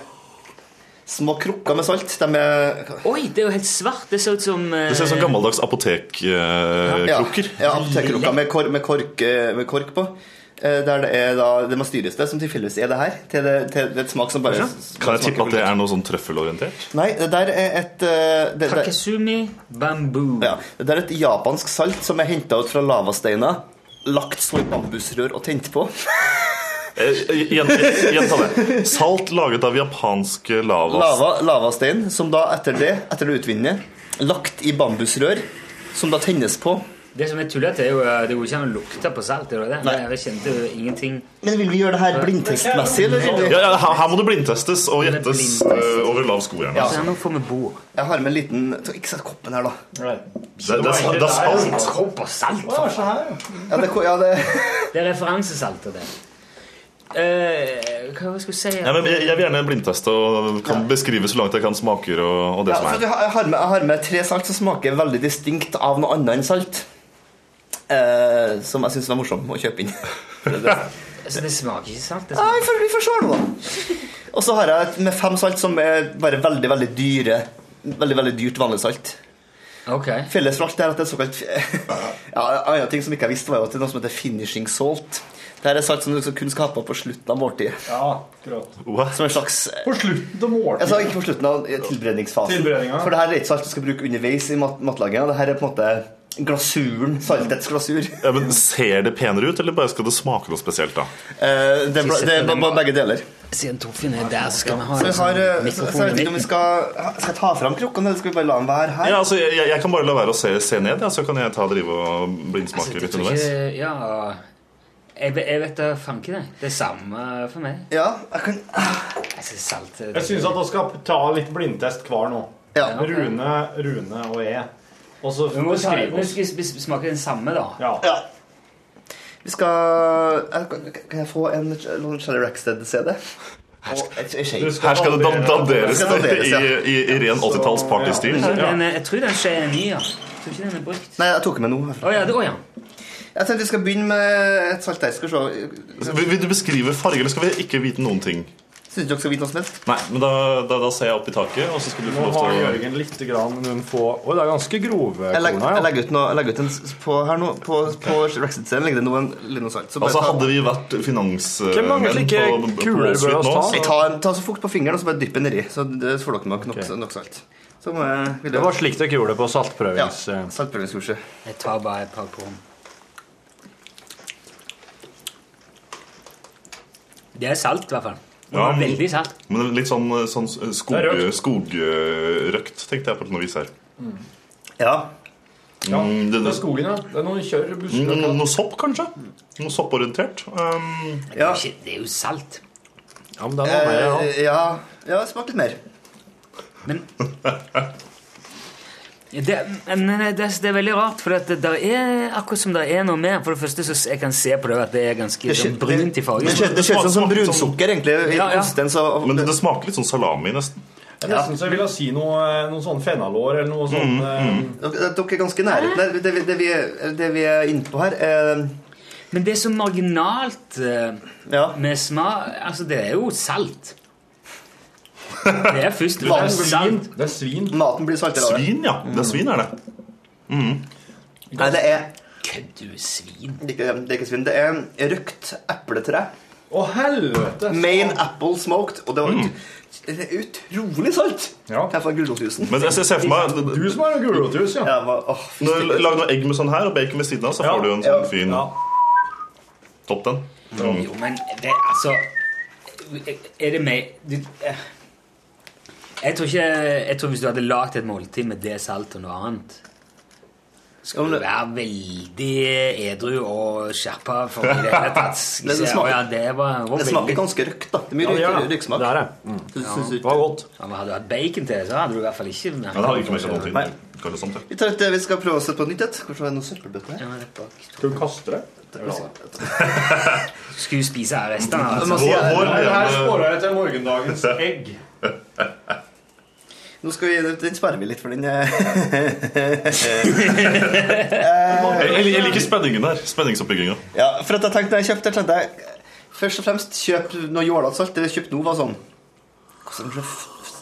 små krukker med salt. De er Oi, det er jo helt svart. Det ser ut som eh, Det ser ut som gammeldags eh, apotekkrukker. Ja, ja apotekkrukker med, kor, med, kork, eh, med kork på. Eh, Der det er da det mest dyreste, som tilfeldigvis er det her. Til det, til det er et smak som bare Kan jeg tippe at det er noe sånn trøffelorientert? Nei, det der er et eh, det, Takesumi bamboo. Ja, det der er et japansk salt som er henta ut fra lavasteiner, lagt så i bambusrør og tent på. Eh, Gjenta gjenta det. Salt laget av japanske lavas. Lava, lavastein, som da etter det, etter det utvinner, lagt i bambusrør, som da tennes på. Det som er tullete, er jo eh, det går ikke an å lukte på salt. Det var det. Jeg kjente jo ingenting Men vil vi gjøre det her blindtestmessig, eller? vil vi- Ja, ja, her, her må det blindtestes og gjettes eh, over lav skohjerne. Ja. altså. Jeg har med en liten så Ikke sett koppen her, da. Det, det, er- det er salt. Kopp og salt. Ja, det, ja, det. Det er referansesaltet, det. Eh, hva var det jeg skulle si? Ja, men jeg, jeg vil gjerne blindteste og kan beskrive så langt jeg kan smaker og, og det Ja, for som jeg, er. har- jeg, har med, jeg har med tre salt som smaker veldig distinkt av noe annet enn salt. Eh, som jeg syns var morsom å kjøpe inn. Altså, det smaker ikke salt. Det Ja, vi får, vi får se nå, da. Og så har jeg et med fem salt som er bare veldig, veldig dyre. Veldig, veldig dyrt vanlig salt. Ok. Felles for alt er at det er såkalt Ja, en annen ting som ikke jeg visste, var jo at det er noe som heter finishing salt. Det her er salt som du liksom kun skal ha på på slutten av måltidet. Ja, akkurat. Som en slags eh, På slutten av måltidet. Jeg sa ikke på slutten av eh, tilberedningsfasen. Tilberedninga. For det her er ikke salt du skal bruke underveis i mat matlaginga. Det her er på en måte glasuren. Saltets glasur. Ja, men Ser det penere ut, eller bare skal det smake noe spesielt? da? Eh, det, er bla- det er bare begge deler. Siden Torfinn er der, så skal vi ha Så, liksom vi har, eh, en så, så jeg vet ikke om vi skal Skal jeg ta fram krukkene, eller skal vi bare la dem være her? Ja, altså, jeg, jeg- jeg kan bare la være å se, se ned, ja, så kan jeg ta og drive og blindsmake litt tror underveis. ikke- Ja Jeg, ve- jeg vet da fanken, jeg. Det er samme for meg. Ja, jeg kan Jeg synes salt eh, Jeg syns at vi skal ta litt blindtest hver nå. Ja. Rune, Rune og jeg. Og så Vi må ta- beskrive vi oss. skal sp- smake den samme, da. Ja. Vi skal jeg- Kan jeg få en Lon Shelly Rackstead-CD? Her Her skal det dan- danderes i, i, i ren 80-talls partystil. Jeg tror den er- Jeg tror den skjer en ny, ja. Jeg tror ikke den er brukt. Nei, jeg tok med noe. Å ja, det å ja. Jeg tenkte vi skal begynne med et salt der. Skal vi se Vil, vil du beskrive farge, eller skal vi ikke vite noen ting? Syns ikke dere skal vite noe som helst? Nei, men da, da, da ser jeg opp i taket, og så skal du få Nå lov har til å Jørgen litt grann noen få Oi, det er ganske grove Jeg legger, jeg korner. legger ut, noe, jeg legger ut en s- på, her nå, på, på Brexit-scenen ligger det nå en linosalt. Altså, hadde vi vært Hvem finansmenn mangler slike kuler bør Wall Street oss ta? nå, Nei, så- ta, ta så fort på fingeren og så bare dypp den nedi. Så det får dere nok, nok, nok salt. Så må jeg, vil Det jeg- var slik dere gjorde det på saltprøvings... eh. Ja, saltprøvingskurset. Jeg tar bare et par korn. Det er salt, i hvert fall. Det Ja, var men- veldig salt. Men litt sånn, sånn skog, Det er røkt. skogrøkt, tenkte jeg på noe vis her. Ja. Mm, det, Det det, er skogen, ja. Det er noen kjør busser. Mm, noe, noe sopp, kanskje? Noe sopporientert? Um, ja. Det er jo salt. Ja, men Eh, ja, ja smak litt mer. Det, men det, det er veldig rart, for at det der er akkurat som det er noe mer. For det første så s- jeg kan se på det at det er ganske Det skje- sånn brunt i fargen. det skje- det skjer sånn som brunsukker, egentlig. i Ja, ja. osten, så- Men det smaker litt sånn salami, nesten. Jeg nesten så jeg ville si noe, noe sånn fenalår eller noe sånn eh, Dere, dere er ganske nære. Det, det, vi- det, vi, er- det vi er inne på her eh, Men det er så marginalt eh, med smak Altså, det er jo salt. Det er først og fremst salt. Det er svin. Maten blir saltere av det. Svin, ja. Det er svin, er det. Nei, det er Kødder du, svin? Det er ikke, det er ikke svin. Det er røkt epletre. Å, helvete! Main apple smoked. Og det var ut, det er utrolig salt! Mm. Ja. Her får jeg gulrotjuicen. Men jeg ser- ser for meg- Du som har gulrotjus, ja. men, åh, Når du lager noe egg med sånn her og bacon ved siden av, så får du jo en sånn fin Topp den. Mm. Jo, men det, altså Er det meg du, eh, Jeg tror ikke Jeg tror hvis du hadde lagd et måltid med det saltet og noe annet skal du være veldig edru og skjerpa for i det hele tatt? Men det Så, smaker- ja, det, var, var det veldig- smaker ganske røkt, da. Det er mye Ja, røyk- det gjør det. røyksmak. Det er det. Mm. Så- Ja. så- så- Ja, men hadde du hatt bacon til det, så hadde du i hvert fall ikke Ja, det har ikke merket noen ting. Nei. Kanskje sånt, ja. Vi, tar et, vi skal prøve å sette på et nytt et. Kanskje det er noen søppelbøtter her. Skal du kaste det? Skulle du spise her resten av Hår- hår Her, her levende- spårer jeg til morgendagens egg. Nå skal vi, Den sparer vi litt, for den eh, Jeg, jeg, jeg eh. liker spenningen der. Spenningsoppbygginga. Ja, for at jeg tenkte når jeg kjøpte, jeg tenkte jeg, Først og fremst kjøp noe jålete salt. Det vi kjøpte nå, var sånn kostet kanskje f-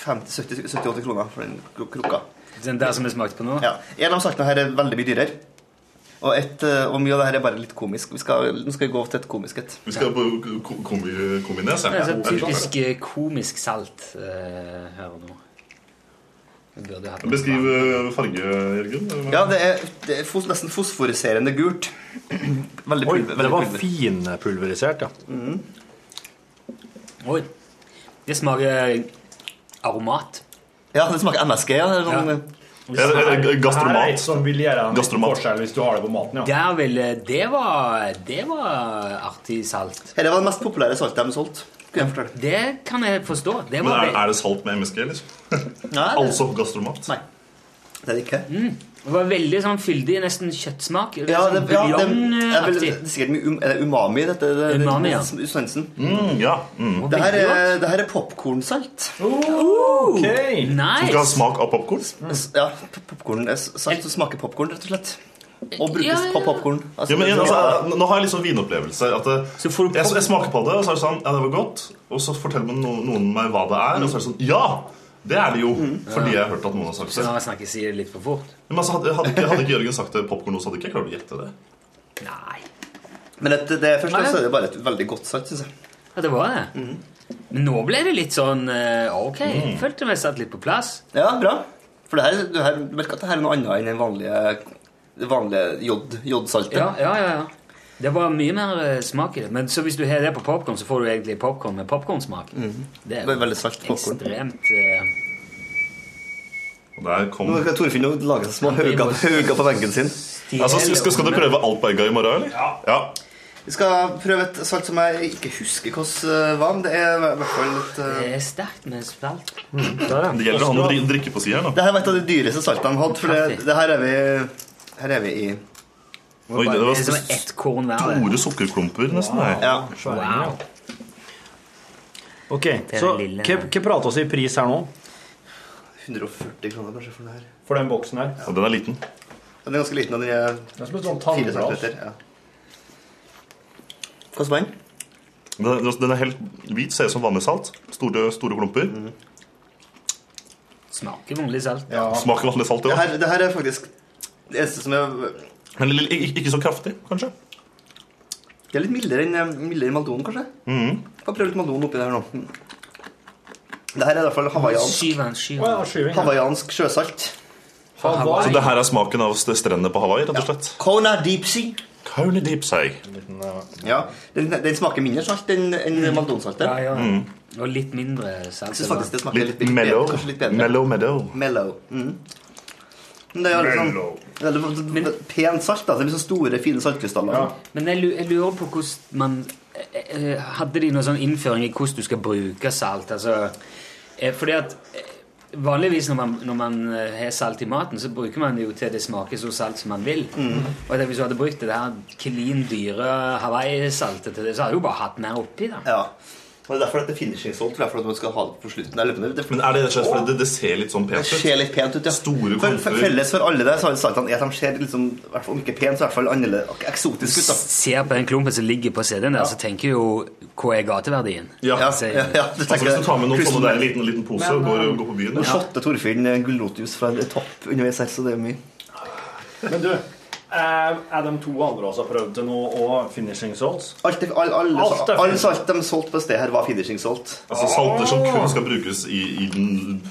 50 70-80 kroner for den kro- krukka. Den der som vi smakte på nå? Ja. En av saltene her er veldig mye dyrere. Og, et, eh, og mye av det her er bare litt komisk. Vi skal, nå skal vi gå til et komisk et. Vi skal på ko- kombi- kombines. Det ja. er så Jeg liker det. typisk eh, komisk salt eh, her og nå. Vi burde hatt noe Beskriv eh, farge, Jørgen. Ja, det er, det er fos, nesten fosforiserende gult. Veldig Oi, pulver. det var finpulverisert, ja. Oi. Det smaker aromat. Ja, det smaker MSG. Ja. Det er sånn, Her er et som vil gjøre en liten forskjell hvis du har det på maten, ja. Der ville Det var Det var artig salt. Dette var det mest populære saltet de solgte. Skal jeg fortelle. Det kan jeg forstå. Det Men var er, er det salt med MSG, liksom? altså gastromat? Nei. Det er det ikke. Mm. Det var veldig sånn fyldig, nesten kjøttsmak. Sånn Ja, det, ja, det, jeg vil, Buljongaktig. det er sikkert mye um, er det umami i dette. Det, det, eh, Umami, ja. det- Svensen. Mm, ja. Mm. Det her er, det her er popkornsalt. Som skal ha smak av popkorn? Ja, popcorn, eh, salt som smaker popkorn, rett og slett. Og brukes Ja, ja, ja. på popkorn. ja, men, altså, jeg- nå har jeg litt sånn vinopplevelse. At det, jeg, jeg smaker på det, og så er det sånn Ja, det var godt. Og så forteller man noen, noen meg hva det er, og så er det sånn Ja! Det er det jo. Mm. Fordi jeg har hørt at noen har sagt det. Så når jeg snakker, sier det litt for fort. Men altså, hadde, hadde, ikke, hadde ikke Jørgen sagt det popkorn nå, så hadde ikke jeg klart å gjette det. Men det, det første Nei, ja. så er det bare et veldig godt salt, synes jeg. Ja, det var det. Men nå ble det litt sånn eh, Ok, Mm. følte meg satt litt på plass. Ja, bra. For det her, du her, du merker at det her er noe annet enn den vanlige, det vanlige jod, jodsaltet. Ja, ja, ja, ja. Det var mye mer eh, smak i det. Men så hvis du har det på popkorn, så får du egentlig popkorn med popkornsmak. Mm. Det er Ve- veldig salt popcorn. ekstremt eh, Og der kom Nå skal Torfinn jo lage seg små hauger hauger på benken sin. altså, skal, skal du prøve alt på egga i morgen, eller? Ja. Vi skal prøve et salt som jeg ikke husker hvordan var, men det er i hvert fall eh, et Det er sterkt med salt. Det gjelder å ha noe å drikke på sida her, da. Det her var et av de dyreste saltene de hadde, for det, det her er vi Her er vi i Oi, det var Det er som ett korn hver. det. store sukkerklumper, nesten. her. Ja. Wow. Ok, så hva hva prater vi i pris her nå? 140 kroner kanskje for det her. For den boksen her. Og den er liten. Den er ganske liten, og den er Det er som et sånt fire tannglass. centimeter. Ja. Hva smaker den? Men Den, den er helt hvit, ser ut som vanlig salt. Store, store klumper. Mm. Smaker vanlig salt. Smaker vanlig salt, Det ja. her, det her er faktisk det eneste som er Men litt- ikke, ikke så kraftig, kanskje? Det er litt mildere enn, eh, mildere enn Maldonen, kanskje? Mhm. Få prøve litt Maldon oppi der nå. Det her er i hvert fall hawaiiansk, Skyven, skyven. hawaiiansk sjøsalt. Så det her er smaken av st- strendene på Hawaii, rett og slett? Kona deep sea. Kona deep sea. Ja, den, den smaker mindre salt enn en maldonsaltet. Ja, ja. Mm. Og litt mindre salt. Jeg synes faktisk det smaker litt, litt mellow. bedre. Kanskje litt bedre. Mellow meadow. Mellow. Mm. Men det er jo liksom, Mellow. det er litt- litt pent salt. da. Det er liksom store, fine saltkrystaller. Men jeg, lu- jeg lurer på hvordan man eh, eh, Hadde de noen sånn innføring i hvordan du skal bruke salt? Altså, eh, fordi at eh, Vanligvis når man, når man eh, har salt i maten, så bruker man det jo til det smaker så salt som man vil. Mm. Og jeg tenker, Hvis du hadde brukt det der klin dyre Hawaii-saltet til det, så hadde du jo bare hatt mer oppi. da Ja. Og det er derfor dette finishing salt. Det er for at man skal ha det på slutten. av løpene. Det Men er det rett og slett fordi det, det ser litt sånn pent Det ser litt pent ut, ja. Store For, for klumper. felles for alle der så har jo saltene er at de ser liksom, i hvert fall om ikke pent, så i hvert fall annerledes eksotisk ut. da. Ser på den klumpen som ligger på CD-en der, så tenker jeg jo Hva er gateverdien? Ja, altså, Så- hvis du tar med noen sånne der, en liten, liten pose og går, Men, um, går på byen Nå shotte Torfinn eh, gulrotus fra topp underveis her, så det er mye. Men du, eh, er de to andre også prøvd til noe og finishing salts? Alt, er- all, alle, Alt er all salt de solgte på stedet her, var finishing salt. Altså salter som kun skal brukes i, i den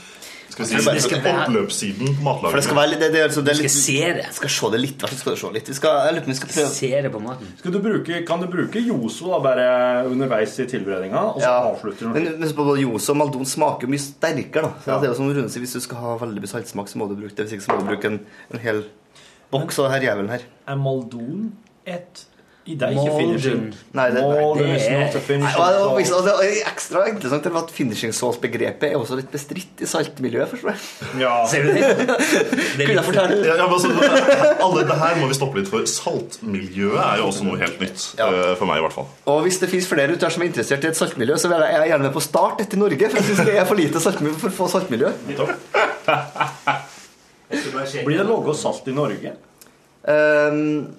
skal vi si, Altså, det skal være- oppløpssiden på matlagene. For det skal være litt, det, det, er altså- det er Du litt, skal se det. Skal se det litt, i hvert fall skal du se litt. Vi skal, jeg lurer på om vi skal prøve. Se det på maten. Skal du bruke, kan du bruke Yoso da, bare underveis i tilberedninga, og så avslutter Men du? men husk på både Yoso og Maldon smaker mye sterkere, da. Så det er jo som Rune sier, hvis du skal ha veldig mye saltsmak, så må du bruke det. Hvis ikke så må du bruke en, en hel boks av denne jævelen her. Er Maldon et i deg ikke finishing? Nei, det, nei, Maldon det is not a er Nei, finishing og det var salt. liksom- og det er ekstra interessant det var at finishing salt-begrepet er også litt bestridt i saltmiljøet, forstår jeg. Ja. Ser du det? Kunne jeg fortelle Ja, ja, men altså, alle det her må vi stoppe litt for. Saltmiljøet er jo også noe helt nytt. eh, For meg, i hvert fall. Og hvis det finnes flere ute her som er interessert i et saltmiljø, så er jeg gjerne med på start etter Norge, for jeg synes det er for lite saltmiljø for få saltmiljø. Blir det logga salt i Norge? Ehm,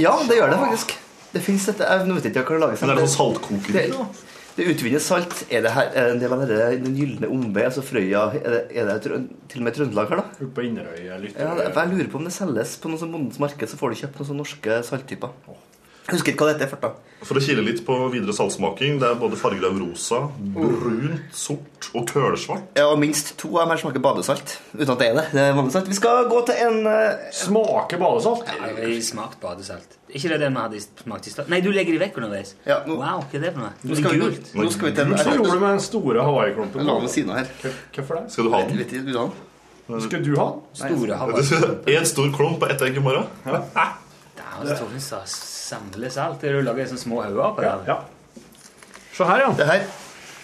ja, det gjør det faktisk. Det finnes dette, jeg vet ikke hva det lages Men er det sånn saltkokeri, det- Det utvinnes salt. Er det, her, er det en del av dette, den gylne omvei, altså Frøya Er det, er det trø- til og med Trøndelag her, da? Oppe på Inderøy eller Ja, Ytterøy? det- jeg lurer på om det selges på noen sånn Bondens marked, så får du kjøpt noen sånne norske salttyper. Jeg husker ikke hva det heter. Farta. For å kile litt på videre saltsmaking, det er både farger av rosa, brunt, sort og kølsvart. Ja, og minst to av dem her smaker badesalt. Uten at det er det. det er vanlig salt. Vi skal gå til en eh, Smaker badesalt? Ja, vi smakt badesalt. Er ikke det det vi hadde smakt i stad? Nei, du legger de vekk underveis. Wow, hva er det for noe? Nå Det skal er vi- gult. nå skal vi til en- Hva gjorde du med den store hawaiiklumpen? Jeg la den ved siden av her. Hvorfor det? Skal du ha den? Vet ikke, vil du ha den? Skal du ha den? Store En stor klump og ett egg i morgen. Ja, Torfinn sa samle salt. Det er jo laget sånne små hauger på det. Se her, ja. Det her.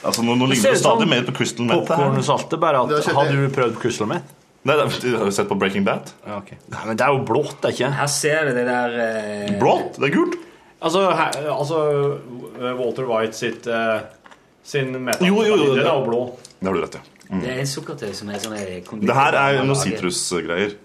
Altså, nå, nå Det ligner ser det ut som stadig mer på Crystal Meth. popcornsaltet, bare at- Det har skjedd, har du prøvd Crystal Meth? Nei, det, du har jo sett på Breaking Bad. Nei, men det er jo blått, det er ikke? Her ser du det der eh, Blått? Det er gult. Altså, her, altså eh, Walter White sitt eh, sin metal. Jo, jo, jo, Den er jo det- blå. Det har du rett i. Mm. Det er en sukkertøy som er sånn Det her er noe sitrusgreier.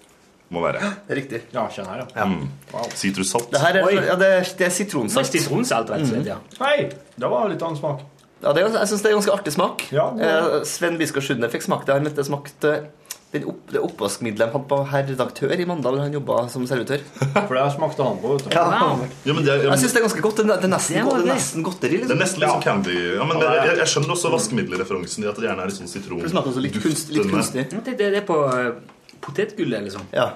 Må være. Riktig. Ja, kjenn her, ja. Mm. Sitrussalt. Det her er, ja, det, er- det er sitronsalt. Sånn Sitronsalt, rett og slett, ja. Hei! Det var litt annen smak. Ja, det er, jeg syns det er ganske artig smak. det er eh, Sven Biskår Sunde fikk smake det. Han mente det smakte eh, den opp, det oppvaskmiddelet han hadde på herr redaktør i Mandal da han jobba som servitør. For det smakte han på, vet du. Ja. jeg syns det er ganske godt. Det er- det er nesten, Det var godt- det er det. nesten godteri. Det er Liksom. nesten litt sånn candy. Ja, men jeg, jeg, jeg skjønner også vaskemiddelreferansen i at det gjerne er litt sånn sitron. Det smaker også litt, kunst, litt kunstig. Det, det er på eh, potetgullet, liksom. Ja.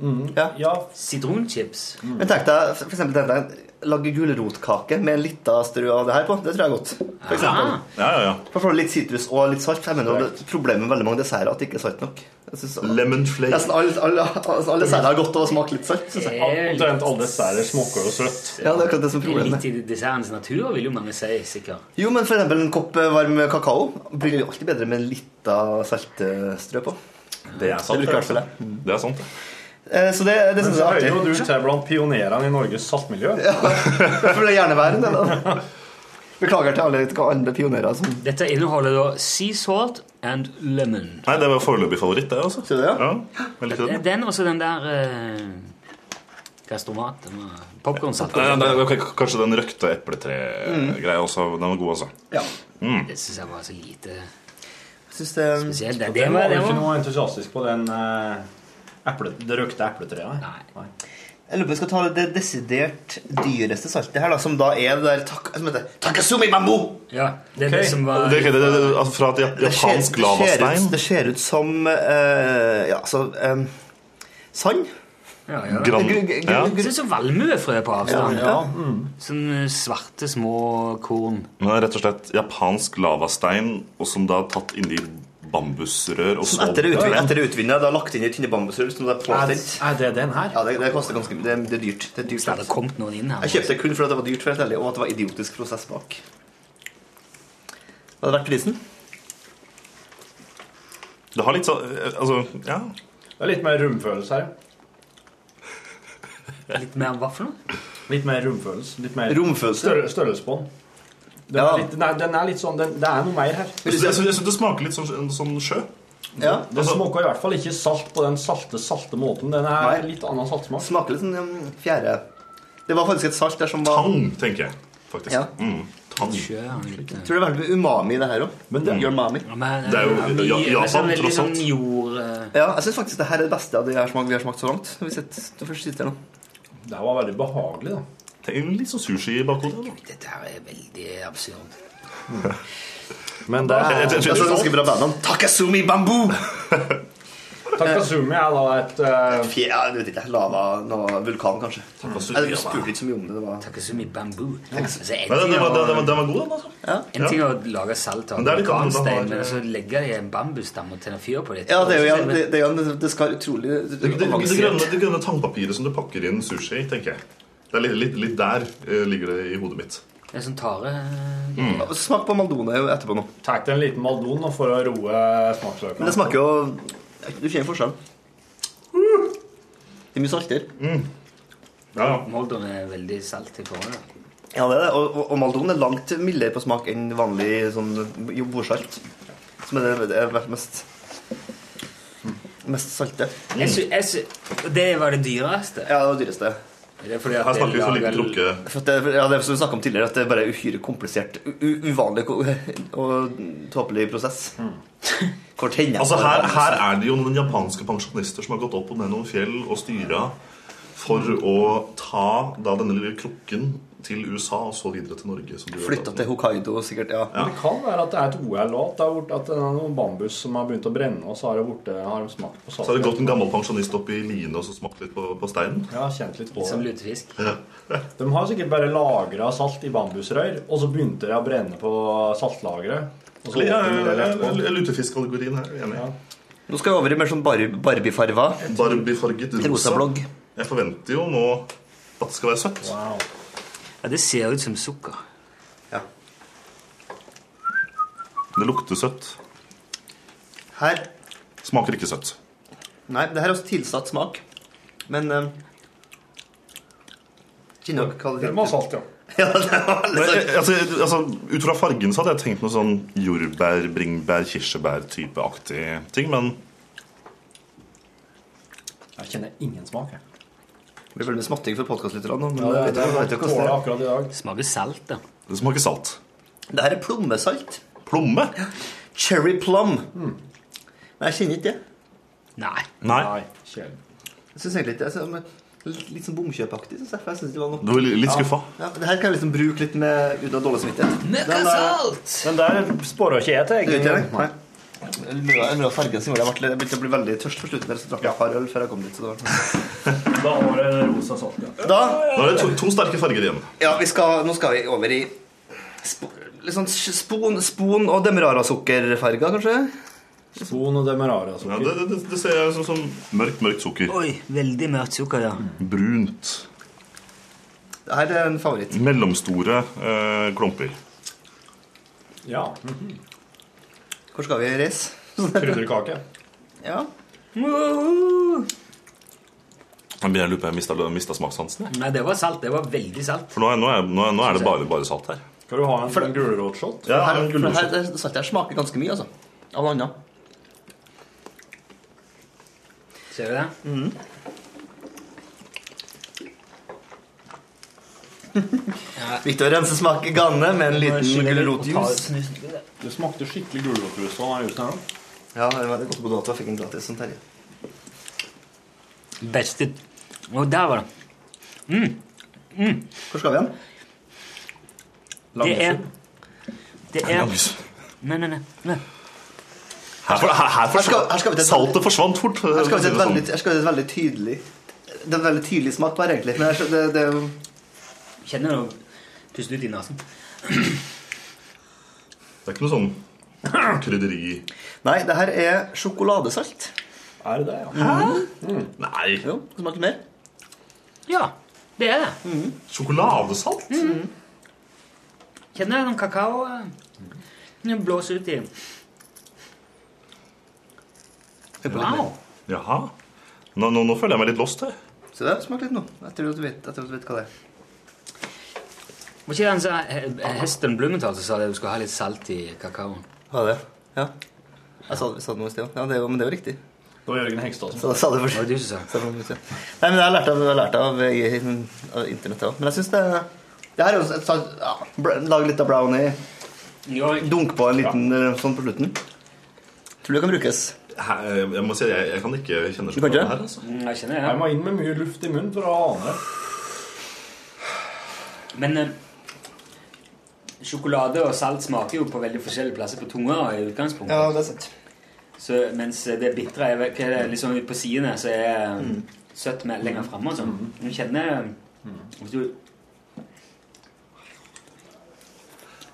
Mm. Ja. Sitronchips. Men tenk deg for eksempel tenk deg, lage gulrotkake med en liten strø av det her på. Det tror jeg er godt. For eksempel. Ja, ja, ja. For å få litt sitrus og litt salt. for Jeg mener jo det- Problemet med veldig mange desserter er at det ikke er salt nok. Jeg synes, Lemon flake. Nesten alle, alle, altså, alle desserter har godt av å smake litt salt. Eh, synes jeg. Omtrent alle desserter smaker jo søtt. Ja, det er akkurat det som er problemet. Litt i dessertens natur, vil jo mange si, sikkert. Jo, men for eksempel en kopp eh, varm kakao blir jo alltid bedre med en liten saltstrø på. Det er sant. bruker i hvert fall jeg. Det er sant. Eh, Så det, det Men synes så hører jeg jo er du artig. til blant pionerene i Norges saltmiljø. For det er gjerne væren, det da. Beklager til alle andre pionerer som Dette inneholder da sea salt and lemon. Nei, det var foreløpig favoritt, det. altså. Ser du det, ja? jeg likte Den den. den og så den der eh, Testomat. Popkornsaft. Ja, det, det, kanskje den røkte epletregreia Mm. også. Den var god, altså. Ja. Mm. Det syns jeg var så lite um, Spesielt det- Det det var jo var- det var- Mm. ikke noe entusiastisk på den eh, eple, det røkte epletreet. Nei. Jeg lurer på om vi skal ta det desidert dyreste saltet her, da, som da er det der tak som heter Takasumi Mambo! Ja, det er det som var- det, det, det, altså fra et jap- Det ser, det japansk ser, lavastein. ut, det ser ut som eh, Ja, altså eh, Sand. Ja, ja. Gran- Gru- gru- ja. Det ser ut som valmuefrø på avstand. Ja, ja. Sånn svarte, små korn. Men det er rett og slett japansk lavastein, og som da er tatt inni bambusrør. Og Som etter å utvinne, etter å utvinne det er lagt inn i tynne bambusrull. Som det er påstilt. Er det den her? Ja, det, det koster ganske mye. Det, er- det er dyrt. Det er dyrt det kommet noen inn her Jeg kjøpte det kun fordi det var dyrt, for helt ærlig, og at det var idiotisk prosess bak. Hva hadde vært prisen? Det har litt sånn eh, Altså, ja. Det er litt mer romfølelse her. Litt mer hva for noe? Litt mer romfølelse. Litt mer Romfølelse? Større, størrelse på den. Den, Ja. er litt, den, er, den er litt sånn den, Det er noe mer her. Jeg syns jeg syns det smaker litt sånn, sånn sjø. Ja, Den smaker i hvert fall ikke salt på den salte, salte måten. Den er litt annen saltsmak. Smaker litt sånn um, fjære Det var faktisk et salt der som var Tang, tenker jeg. Faktisk. Ja. Mm. Tang. Jeg tror det var litt umami, i det her òg. Umami. Det eh, er jo- umami, ja, Japan, sånn veldig tross alt. sånn jord eh, Ja, jeg syns faktisk det her er det beste av det jeg har smakt, vi har smakt så langt. Når vi sitter, når vi først sitter her nå. Det her var veldig behagelig, da. litt sånn sushi i bakhodet. Dette her er veldig absurd. Men det er- Jeg synes det er sånn. ganske bra bandnavn. Takasumi Bamboo! Takasumi er da et uh... Fjær, jeg vet ikke. Lava noe vulkan, kanskje. Takasumi, Nei, Vi lava. spurte ikke så mye om det. det var... Takasumi Bamboo. Altså, en Nei, den- ting den var- er å- den- den- den var god, den, altså. Ja. En Ja. ting er å lage salt av Men det er litt annet å ha- vulkanstein, men så legger de en bambusstamme og tenner fyr på det. Ja, det er jo igjen det, det, er igjen- det- det skal utrolig Det, det, det, grønne, det grønne tangpapiret som du pakker inn sushi i, tenker jeg. Det er litt, litt, litt der eh, ligger det i hodet mitt. Det er sånn tare Mm. Smak på Maldone etterpå nå. Tar deg en liten Maldon nå for å roe smaksløkene. Men det smaker jo Du kjenner forskjellen. Det er mye saltere. Moldon er veldig salt i forhold. da. Ja, det er det. Og, og, og Maldon er langt mildere på smak enn vanlig sånn, jo, bordsalt. Som er det, det er mest Mest salte. Jeg sy- jeg sy- det var det dyreste? Ja, det var det dyreste. Det er fordi at det lager- For at det, ja, det er som vi snakket om tidligere, at det er bare uhyre komplisert, u u- uvanlig ko- og tåpelig prosess. Kort hender Altså her, her er det jo noen japanske pensjonister som har gått opp og ned noen fjell og styra for å ta da denne lille krukken til USA og så videre til Norge. som du har Flytta tatt til Hokkaido, sikkert. Ja. Men det kan være at det er et OL òg. At det er bort- at det er noen bambus som har begynt å brenne, og så har, det borte, har de smakt på Så salt. har det gått en gammel pensjonist opp i line og så smakt litt på, på steinen. Ja, kjent litt på Som det. lutefisk. De har sikkert bare lagra salt i bambusrør, og så begynte det å brenne på saltlageret. og så Eller, ja, åpner det ja, rett på. ja, Lutefiskalegorien her. Enig. Nå skal vi over i mer sånn bar Barbie-farva. Barbie-farget rosa. blogg. Jeg forventer jo nå at det skal være søtt. Ja, Det ser ut som sukker. Det lukter søtt. Her Smaker ikke søtt. Nei, det her er også tilsatt smak. Men eh, Kjenner dere hva det Den var salt, ja. Ja, det var Men, veldig jeg- salt. jeg- altså, altså, ut fra fargen så hadde jeg tenkt noe sånn jordbær, bringebær, kirsebær-typeaktig ting, men Jeg kjenner ingen smak. jeg. Det blir veldig smatting for podkastlytterne. nå, men Ja, det, jeg vet det, ikke- jeg vet det ikke hvordan det er. akkurat i dag. Smaker salt, da. Det smaker salt. Det her er plommesalt. Plomme? Cherry plum. Mm. Men jeg kjenner ikke det. Nei. Nei. Jeg synes egentlig ikke det. Jeg synes- men Litt sånn bomkjøpaktig, synes jeg. For jeg synes det var noe Du var litt skuffa. Ja. Ja, det her kan jeg liksom bruke litt med uten å ha dårlig samvittighet. Men Den hva der- Den der spåra ikke jeg til. Det gjør ikke jeg, nei. Mye av- mye av fargen som gjorde jeg ble- jeg begynte å bli veldig tørst på slutten. der, Så drakk jeg et par øl før jeg kom dit. Så det sånn. var da var det rosa salt. Ja. Da, Nå er det to, to sterke farger igjen. ja, vi skal, nå skal vi over i sp litt sånn sj- spon, spon og demerara-sukkerfarger, kanskje? Spon og demerara-sukker. Ja, det, det, det- det ser jeg som, som mørkt, mørkt sukker. Oi, veldig mørkt sukker, ja. Brunt. Det her er en favoritt. Mellomstore eh, klumper. Ja. Hvor skal vi reise? Krydderkake. Ja. Jeg begynner å lure på om jeg mista, mista smakssansen. jeg. Nei, det var salt. Det var veldig salt. For nå er, nå er, nå er, nå er det bare, bare salt her. Skal du ha en, en gulrotshot? Ja, her, en for det her, gulrotshot. det saltet her smaker ganske mye, altså. Av noe annet. Ser du det? Viktig å rense smak i gannene med en liten gulrotjuice. Det smakte skikkelig gulrotjuice av den juicen her nå. Ja, det var godt på dato. Jeg fikk en gratis som Terje. Beste Og der var det. Mm. Mm. Hvor skal vi hen? Det er Det er Langhus. Nei, nei, nei. nei. Her, for- her, her, Her skal- her skal vi til et veldig- saltet forsvant fort. eh, Her skal sånn. vi til et veldig, her skal vi til et veldig tydelig Det er en veldig tydelig smak på her, egentlig. Men jeg skjø- det, det er jo Kjenner du puste ut i nesen? Det er ikke noe sånn krydderi Nei, det her er sjokoladesalt. Er det det, ja? Mm. Nei. Jo, det smaker mer. Ja, det er det. Sjokoladesalt? Mm. Kjenner du noen kakao eh, blåser ut i Wow. Jaha. Nå, nå, nå føler jeg meg litt lost her. Se der, smak litt nå. Jeg tror du vet, jeg tror du vet hva det er. Var ikke den som- he- Heston Blumenthal som sa det du skulle ha litt salt i kakaoen? Hva er det? Ja. Jeg sa, sa det noe i sted også. Ja, det er jo- men det er jo riktig. Det var Jørgen Hegstad Så, sa det først. Det var du som sa det. først, ja. Nei, men jeg har lært av, jeg har lært av, eh, av internettet òg. Men jeg syns det Det her er jo et sånt ja, br- Lag litt av brownie. Dunk på en liten eh, sånn på slutten. Tror du det kan brukes? Her, jeg må si, jeg, jeg kan ikke kjenne Du kan ikke? sjokoladen her. Altså. Jeg kjenner det. Jeg må inn med mye luft i munnen for å ane det. Men eh, sjokolade og salt smaker jo på veldig forskjellige plasser på tunga i utgangspunktet. Ja, det er sant. Så, mens eh, det bitre er hva er det, liksom ut på sidene, så er eh, søtt med lenger framme og sånn. Du kjenner eh, hvis du,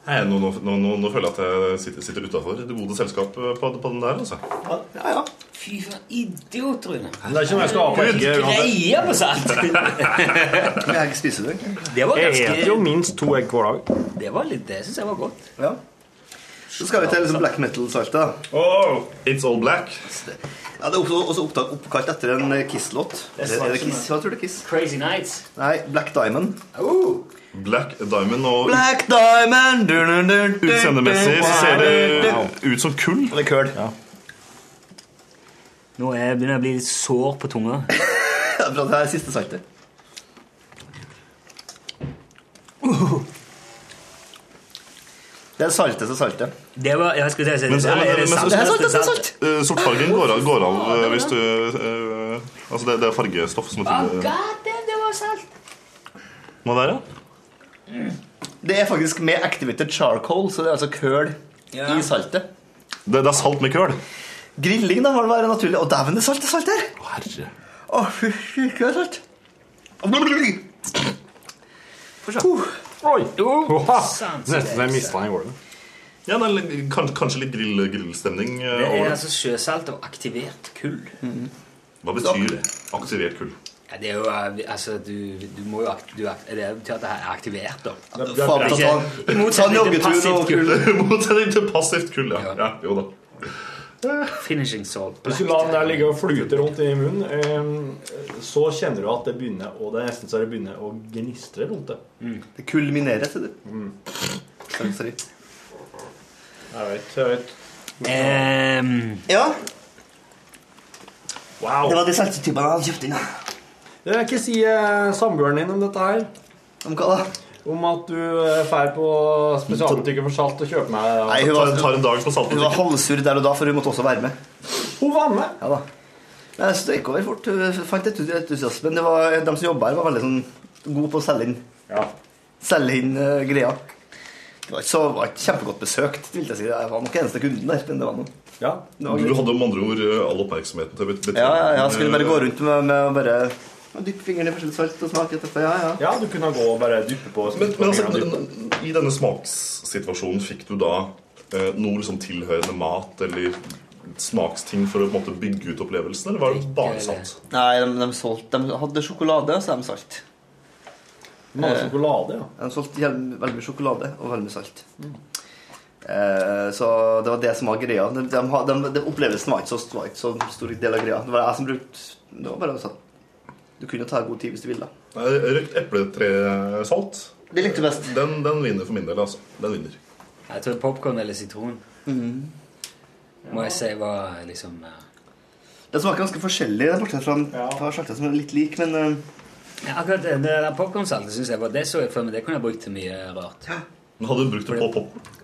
Nei, nå, nå, nå, nå, nå føler jeg at jeg sitter, sitter utafor det gode selskap eh, på, på den der. altså. Fy faen, idiot, Rune. Men det er ikke noe jeg skal ha på Gud, egget uansett. Greia på salt! Hvilke egg spiser du? egentlig? Det var Jeg ganske- spiser jo minst to egg hver dag. Det var litt det syns jeg var godt. Ja. Så skal vi til liksom black metal-saltet. da. Oh, it's all black. Ja, det er også, også opptak, oppkalt etter en eh, Kiss-låt. Det er Eller sant, er det Kiss? skjønner. Hva tror du Kiss? Crazy Nights. Nei, Black Diamond. Uh. Black Diamond og Black Diamond! Du, du, du, du, utseendemessig så ser det ut som kull. Eller køl. Nå er jeg begynner jeg å bli litt sår på tunga. Ja, bra, det er siste saltet. Det er saltet som saltet. Det var, jeg skulle til å si Men, det, eller er det sant? Eh, Sortfargen går av, går av eh, hvis du eh, Altså, det, det er fargestoff som er Ah, til God, det, det var salt! Hva der, ja? Det er faktisk med activated charcoal, så det er altså køl i saltet. Det, det er salt med køl. Grilling, da, må det være naturlig. Å, dæven, det er salt, det er salt her! Herre. Å, fy, fy, hva er salt? Å, bli, bli, bli. Oi! Oha. sant. Nesten så jeg mista den i gulvet. Ja, det er litt- kanskje, kanskje litt grill, grillstemning eh, Det over er det. altså sjøsalt og aktivert kull. Hva betyr det? Aktivert kull. Ja, det er jo, eh, altså, du, du må jo akt, du, akt, Det betyr at det er aktivert, da. det er- Faen, Det er ikke- ta- i motsetning ta en til joggetur passivt og- kull. Motsetning til passivt kull, ja. ja. Jo da. Finishing salt. Hvis du lar den der ligge og flyte rundt i munnen, eh, så kjenner du at det begynner Og det er nesten så det begynner å gnistre rundt det. Det kulminerer, sier du. Sorry, Sorry. Jeg vet, jeg vet. Ehm, Ja, Wow. det var de saltetypene jeg hadde kjøpt inn. da. Jeg vil ikke si eh, samboeren din om dette her. Om hva da? Om at du eh, fær på spesialbutikken for salt og kjøper meg Nei, hun Tar, var, tar en dag på hun var saltbutikken. halvsur der og da, for hun måtte også være med. Hun var med! Ja da. Nei, så det gikk over fort. Hun fant et entusiasme. Men det var, de som jobba her, var veldig sånn gode på å selge inn Ja. Selge inn eh, greia. Det var ikke, så, var ikke kjempegodt besøkt. vil Jeg si. Jeg var nok eneste kunden der. men det var noe. ja. Det var Du greit. hadde om andre ord eh, all oppmerksomheten til bet- Ja, ja, jeg skulle bare gå betjeningen. rundt med, med å bare dyppe fingrene i forskjellig salt og smake etterpå. Ja, ja. ja, du kunne gå og bare dyppe på Men, men altså, n- n- i denne smakssituasjonen fikk du da eh, noe liksom tilhørende mat eller smaksting for å på en måte bygge ut opplevelsen, eller var det bare salt? Nei, de, de, solgte, de hadde sjokolade, så de salt. Hun hadde sjokolade, ja. De solgte jævlig- veldig mye sjokolade og veldig mye salt. Eh, så det var det som var greia. De, de, ha- de, de, opplevelsen var ikke så, var ikke så stor del av greia. Det var jeg som brukte Det var bare sånn Du kunne ta god tid hvis du ville. da. Nei, Røkt epletresalt. Det likte du best. Den, den vinner for min del, altså. Den vinner. jeg tror popkorn eller sitron Mm. må jeg si var liksom eh, Det smaker ganske forskjellig, bortsett fra ja. saltet som er litt lik, men eh, Akkurat det, det der popkornsaltet synes jeg var det så jeg for meg. Det kunne jeg brukt til mye rart. Men hadde du brukt det på popkorn?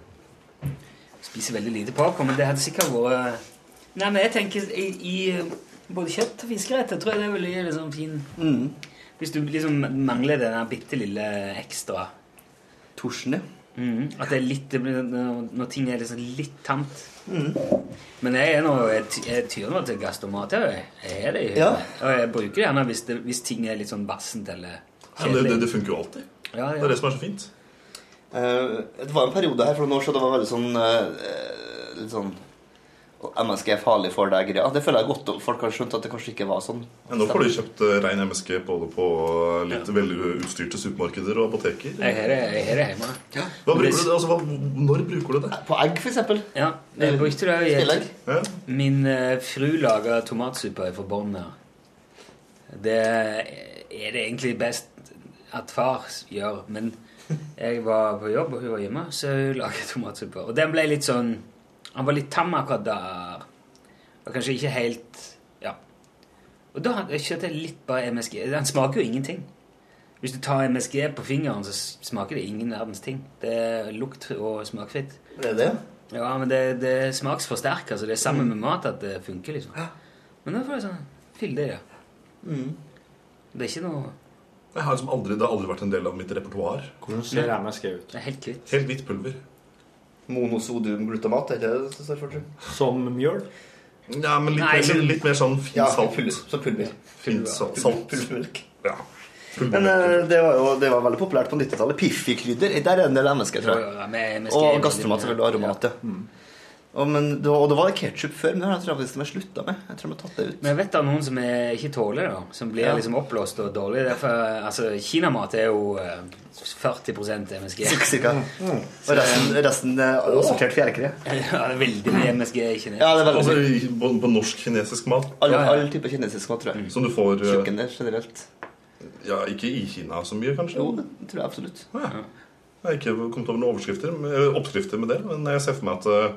Spiser veldig lite popkorn, men det hadde sikkert vært Nei, men jeg tenker i, i både kjøtt og fiskeretter tror jeg det ville gi liksom fin Mm. Hvis du liksom mangler den der bitte lille ekstra Torsene. Mm. Mhm, At det er litt det blir- Når når ting er liksom litt tamt. Mm. Men jeg er nå jeg, ty- jeg tyr nå til gastromat. Jeg, jeg er det jo. Ja. Og jeg bruker det gjerne hvis, det, hvis ting er litt sånn bassent eller Ja, men det, det, det funker jo alltid. Ja, ja. Det er det som er så fint. Eh, det var en periode her for noen år siden det var veldig sånn eh, Litt sånn MSG er farlig for deg-greia. Det føler jeg godt og folk har skjønt at det kanskje ikke var sånn. Ja, nå får du kjøpt eh, rein MSG både på eh, litt velutstyrte supermarkeder og apoteker. Jeg har det- jeg har det hjemme. Hva bruker du det? Altså, hva, når bruker du det? På egg, f.eks. Ja, Eh, jeg brukte det jo Stillegg. i Min eh, fru lager tomatsuppe fra bånn her. Det er det egentlig best at far gjør, men jeg var på jobb, og hun var hjemme, så hun laget tomatsuppe. Og den ble litt sånn Han var litt tam akkurat der. Og kanskje ikke helt Ja. Og da kjørte jeg litt bare MSG. Den smaker jo ingenting. Hvis du tar MSG på fingeren, så smaker det ingen verdens ting. Det er lukt- og smakfritt. Det er det. Ja, men det, det er smaksforsterker, så det er sammen Mm. med mat at det funker, liksom. Men da får jeg sånn Fyll det, ja. Mm. Det er ikke noe Jeg har liksom aldri, det har aldri vært en del av mitt repertoar. Hvordan ser Nei. MSG ut? Det er helt hvitt. Helt hvitt pulver. Monosodium glutamat, er det det det står for? tror jeg? Som mjøl? Ja, men litt, Nei, mer, som- litt, litt mer sånn fint Ja, salt. pulver, som pulver. Fint salt. salt. Pulvermelk. Ja. Men eh, det var jo det var veldig populært på 90-tallet. Piffikrydder. Der er en del MSG, tror Ja, ja, med- jeg. med skrevet- Og gastromat selvfølgelig, og aromat. Ja. Og, men, det var- og det var ketsjup før, men det har jeg tror jeg faktisk de har slutta med. Jeg tror de har tatt det ut. Men jeg vet det er noen som er ikke tåler det, da. Som blir Ja. liksom oppblåst og dårlig. Derfor, altså, Kinamat er jo eh, 40 MSG. Sikkert. Og resten, resten er assortert fjærkre. Ja, det er veldig mye MSG i kines. Ja, det er veldig Altså, mye. i- på, på norsk-kinesisk mat. All, all type kinesisk mat, tror jeg. Som du får eh, Kjøkkenet generelt. Ja, ikke i Kina så mye, kanskje? Jo, det tror jeg absolutt. Ja. Jeg har ikke kommet over noen overskrifter, eh, oppskrifter med det, men jeg ser for meg at eh,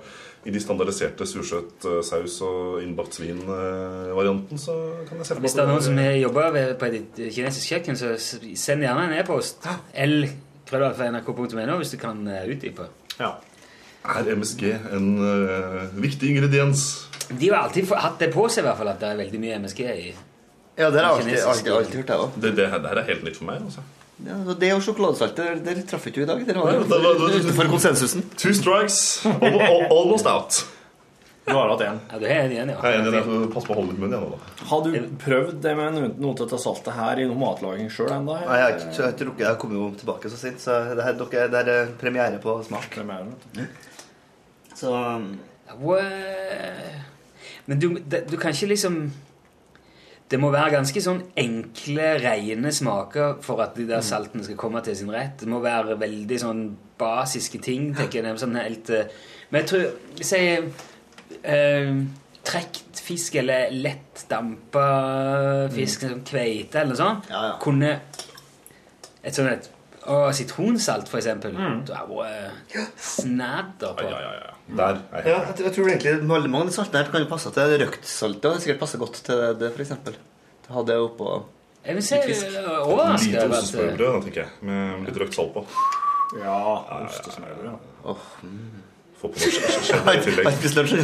i de standardiserte sursøt eh, saus og innbakt svin-varianten, så kan jeg se for meg Hvis det er noen som jobber ved- på et kinesisk kjøkken, så s- send gjerne en e-post. L nrk.no hvis du kan eh, utdype. Er MSG en eh, viktig ingrediens? De har alltid få- hatt det på seg i hvert fall at det er veldig mye MSG i Ja, det har jeg alltid, kinesisk alltid, alltid hørt, jeg òg. Det, det her det her er helt nytt for meg. altså. Ja, så det og sjokoladesalt, der, der traff ikke du i dag. Dere Ja, da- da- var da- utenfor konsensusen. Two strikes, al- al- almost out. Du har hatt én. Ja, du har én igjen, ja. Jeg er enig, i det, så pass på å holde litt munn igjen nå, da. Har du prøvd det med noe- noe av dette saltet her i noe matlaging sjøl ennå? Nei, jeg, har ikke- jeg, har ikke rukket- jeg kom jo tilbake så sent, så det her, dere, det her er premiere på smak. Så Wow. Men du, det- du kan ikke liksom Det må være ganske sånn enkle, rene smaker for at de der saltene skal komme til sin rett. Det må være veldig sånn basiske ting, tenker jeg. Sånn helt, eh, men jeg tror Si eh, trekt fisk eller lett dampa fisk, som kveite eller noe sånt, kunne et sånt et å, sitronsalt, for eksempel. Det har vært snadder på. Der. ja, jeg, tror- jeg tror egentlig veldig mange av de saltene her kan jo passe til røktsaltet. Det har sikkert passet godt til det, for eksempel. Det hadde jeg oppå Jeg vil se Litt fisk. eh, overrasket Lite over ostesmørbrød, at eh, da, tenker jeg, med litt røkt salt på. Ja, ostesmørbrød. Ja. mm. Få på noe skjedd i tillegg.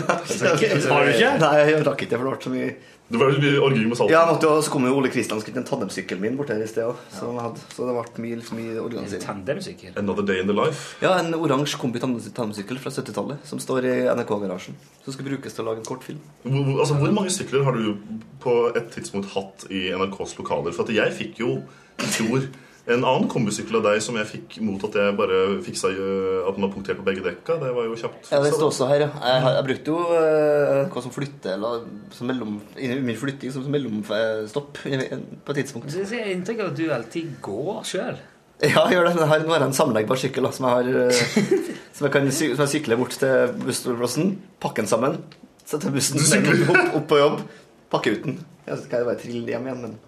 Har du ikke? Nei, jeg rakk ikke det, for det ble så mye Du var jo i orgi med salt. Ja, jeg måtte jo, så kom jo Ole Kristian skulle til en tandemsykkel min bort her i sted også, som jeg hadde. Så det ble mye, liksom, mye altså, organisering. Tandemsykkel? Another day in the life. Ja, en oransje kombi tandem- tandemsykkel fra 70-tallet som står i NRK-garasjen. Som skal brukes til å lage en kortfilm. Hvor, hvor- altså, hvor mange sykler har du på et tidspunkt hatt i NRKs lokaler? For at jeg fikk jo i fjor en annen kombisykkel av deg som jeg fikk mot at jeg bare fiksa øh, at den var punktert på begge dekka. Det var jo kjapt. Ja, det fiksa, står da. også her, ja. Jeg, har- jeg brukte jo eh, hva som flytte, eller som mellom, inni min flytting som som mellomstopp i- på et tidspunkt. Det er inntrykk av at du alltid går sjøl. Ja, jeg gjør det. men jeg har- Nå har jeg en sammenleggbar sykkel da, som jeg har eh, som jeg kan sy som jeg sykler bort til bussplassen, pakke den sammen, sette bussen den opp, opp på jobb, pakke ut den. Jeg skal jeg bare trille hjem igjen, men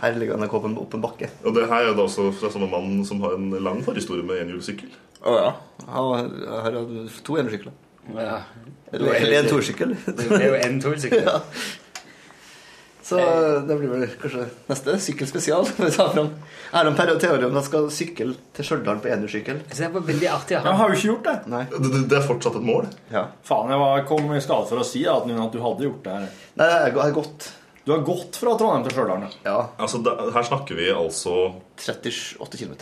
her ligger NRK på en, opp en bakke. Og det her er da også fra samme mann som har en lang forhistorie med enhjulssykkel. Å ja. Jeg har- jeg har hatt to enhjulssykler. Ja. Eller en tosykkel. Det er jo en tosykkel. Ja. Så det blir vel kanskje neste sykkelspesial. Vi tar fram Erlend Per og Theodor om de skal sykle til Stjørdal på enersykkel. Det var veldig artig. Jeg har jo ikke gjort det. Det, det- det er fortsatt et mål. Faen, jeg var, kom i skade for å si at, at du hadde gjort det her. Nei, jeg har gått. Du har gått fra Trondheim til Stjørdal? Ja. Altså, da, her snakker vi altså 38 km.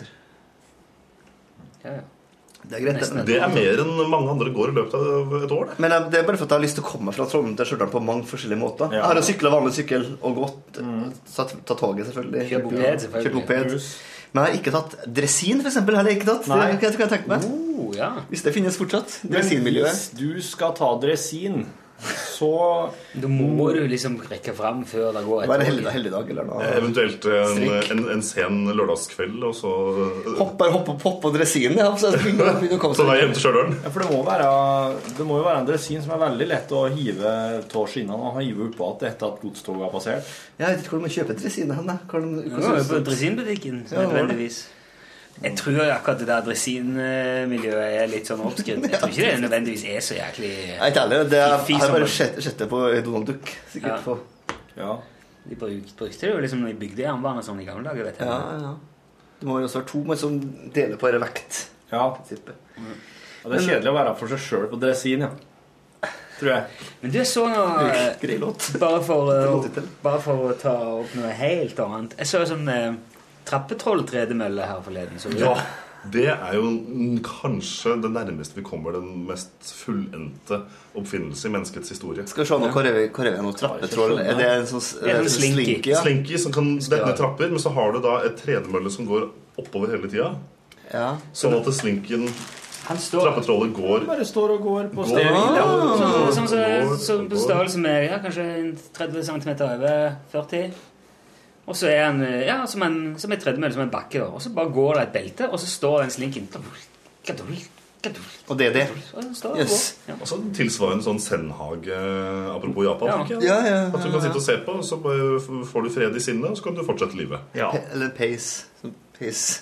Ja, ja. Det er greit. det, men- Det er mer enn mange andre går i løpet av et år. Men eh, det er bare for at jeg har lyst til å komme meg fra Trondheim til Stjørdal på mange forskjellige måter. Jeg har jo sykla vanlig sykkel og gått. Mm. Tatt, tatt toget, selvfølgelig. Kjørt moped, Kjørt selvfølgelig. moped. Men jeg har ikke tatt dresin, f.eks. Har jeg ikke tatt. Nei. Oh. Det kan jeg tenke meg. Oh, Hvis det finnes fortsatt. Hvis Dresinmiljøet. du skal ta dresin, så Da må du liksom rekke fram før det går Være heldig- helligdag eller noe. Eh, Eventuelt en, Stryk. en, en sen lørdagskveld, og så Hopp, bare hopp, hopp på dresinen, ja. Så begynner begynner å komme Så vei hjem til Stjørdal. Ja, for det må, være, det må jo være en dresin som er veldig lett å hive av skinnene og hive oppå igjen etter at godstoget har passert. Jeg vet ikke hvor de kjøper dresin hen. da. Hvor de- hvor Det var jo synes på du- dresinbutikken, Ja, det var det. nødvendigvis. Jeg tror jo akkurat det der dresinmiljøet er litt sånn oppskrytt. Jeg tror ikke det nødvendigvis er så jæklig Jeg vet ikke heller. Det er, Fy jeg har bare sommer. sett sett det på Donald Duck. Sikkert på De bruk, brukte det jo liksom når de bygde jernbane sånn i gamle dager. vet jeg. Ja, ja. Det må jo også være to men som deler på denne vekt. Ja. Og det er Men- kjedelig å være for seg sjøl på dresin, ja. Tror jeg. Men du jeg så nå eh, Bare for, eh, bare for å ta opp noe helt annet. Jeg så en sånn eh, trappetrolltredemølle her forleden. Så du Ja, det? det er jo n- kanskje det nærmeste vi kommer den mest fullendte oppfinnelse i menneskets historie. Skal vi se nå, hvor er vi, hvor er vi nå? Trappetroll? Er det en sånn slinky, ja? som kan dette ned trapper, men så har du da et tredemølle som går oppover hele tida. Ja. Sånn at slinken står- Trappetrollet går Bare står og går på Går. stedet. Ah. Sånn som så, Går, så på går. størrelse med ja, kanskje en 30 cm over 40. Og så er han eh, ja, som en, som en tredemølle, som en bakke. da. Og så bare går det et belte, og så står den slinken Og det er det. Og den står og Yes. går. Ja. Altså tilsvarende sånn Sennhage, apropos Japan. Ja. tenker jeg. Ja, ja, ja, At du ja, kan ja. sitte og se på, og så bare f- får du fred i sinnet, og så kan du fortsette livet. Pe- Eller pace. Sånn Pace.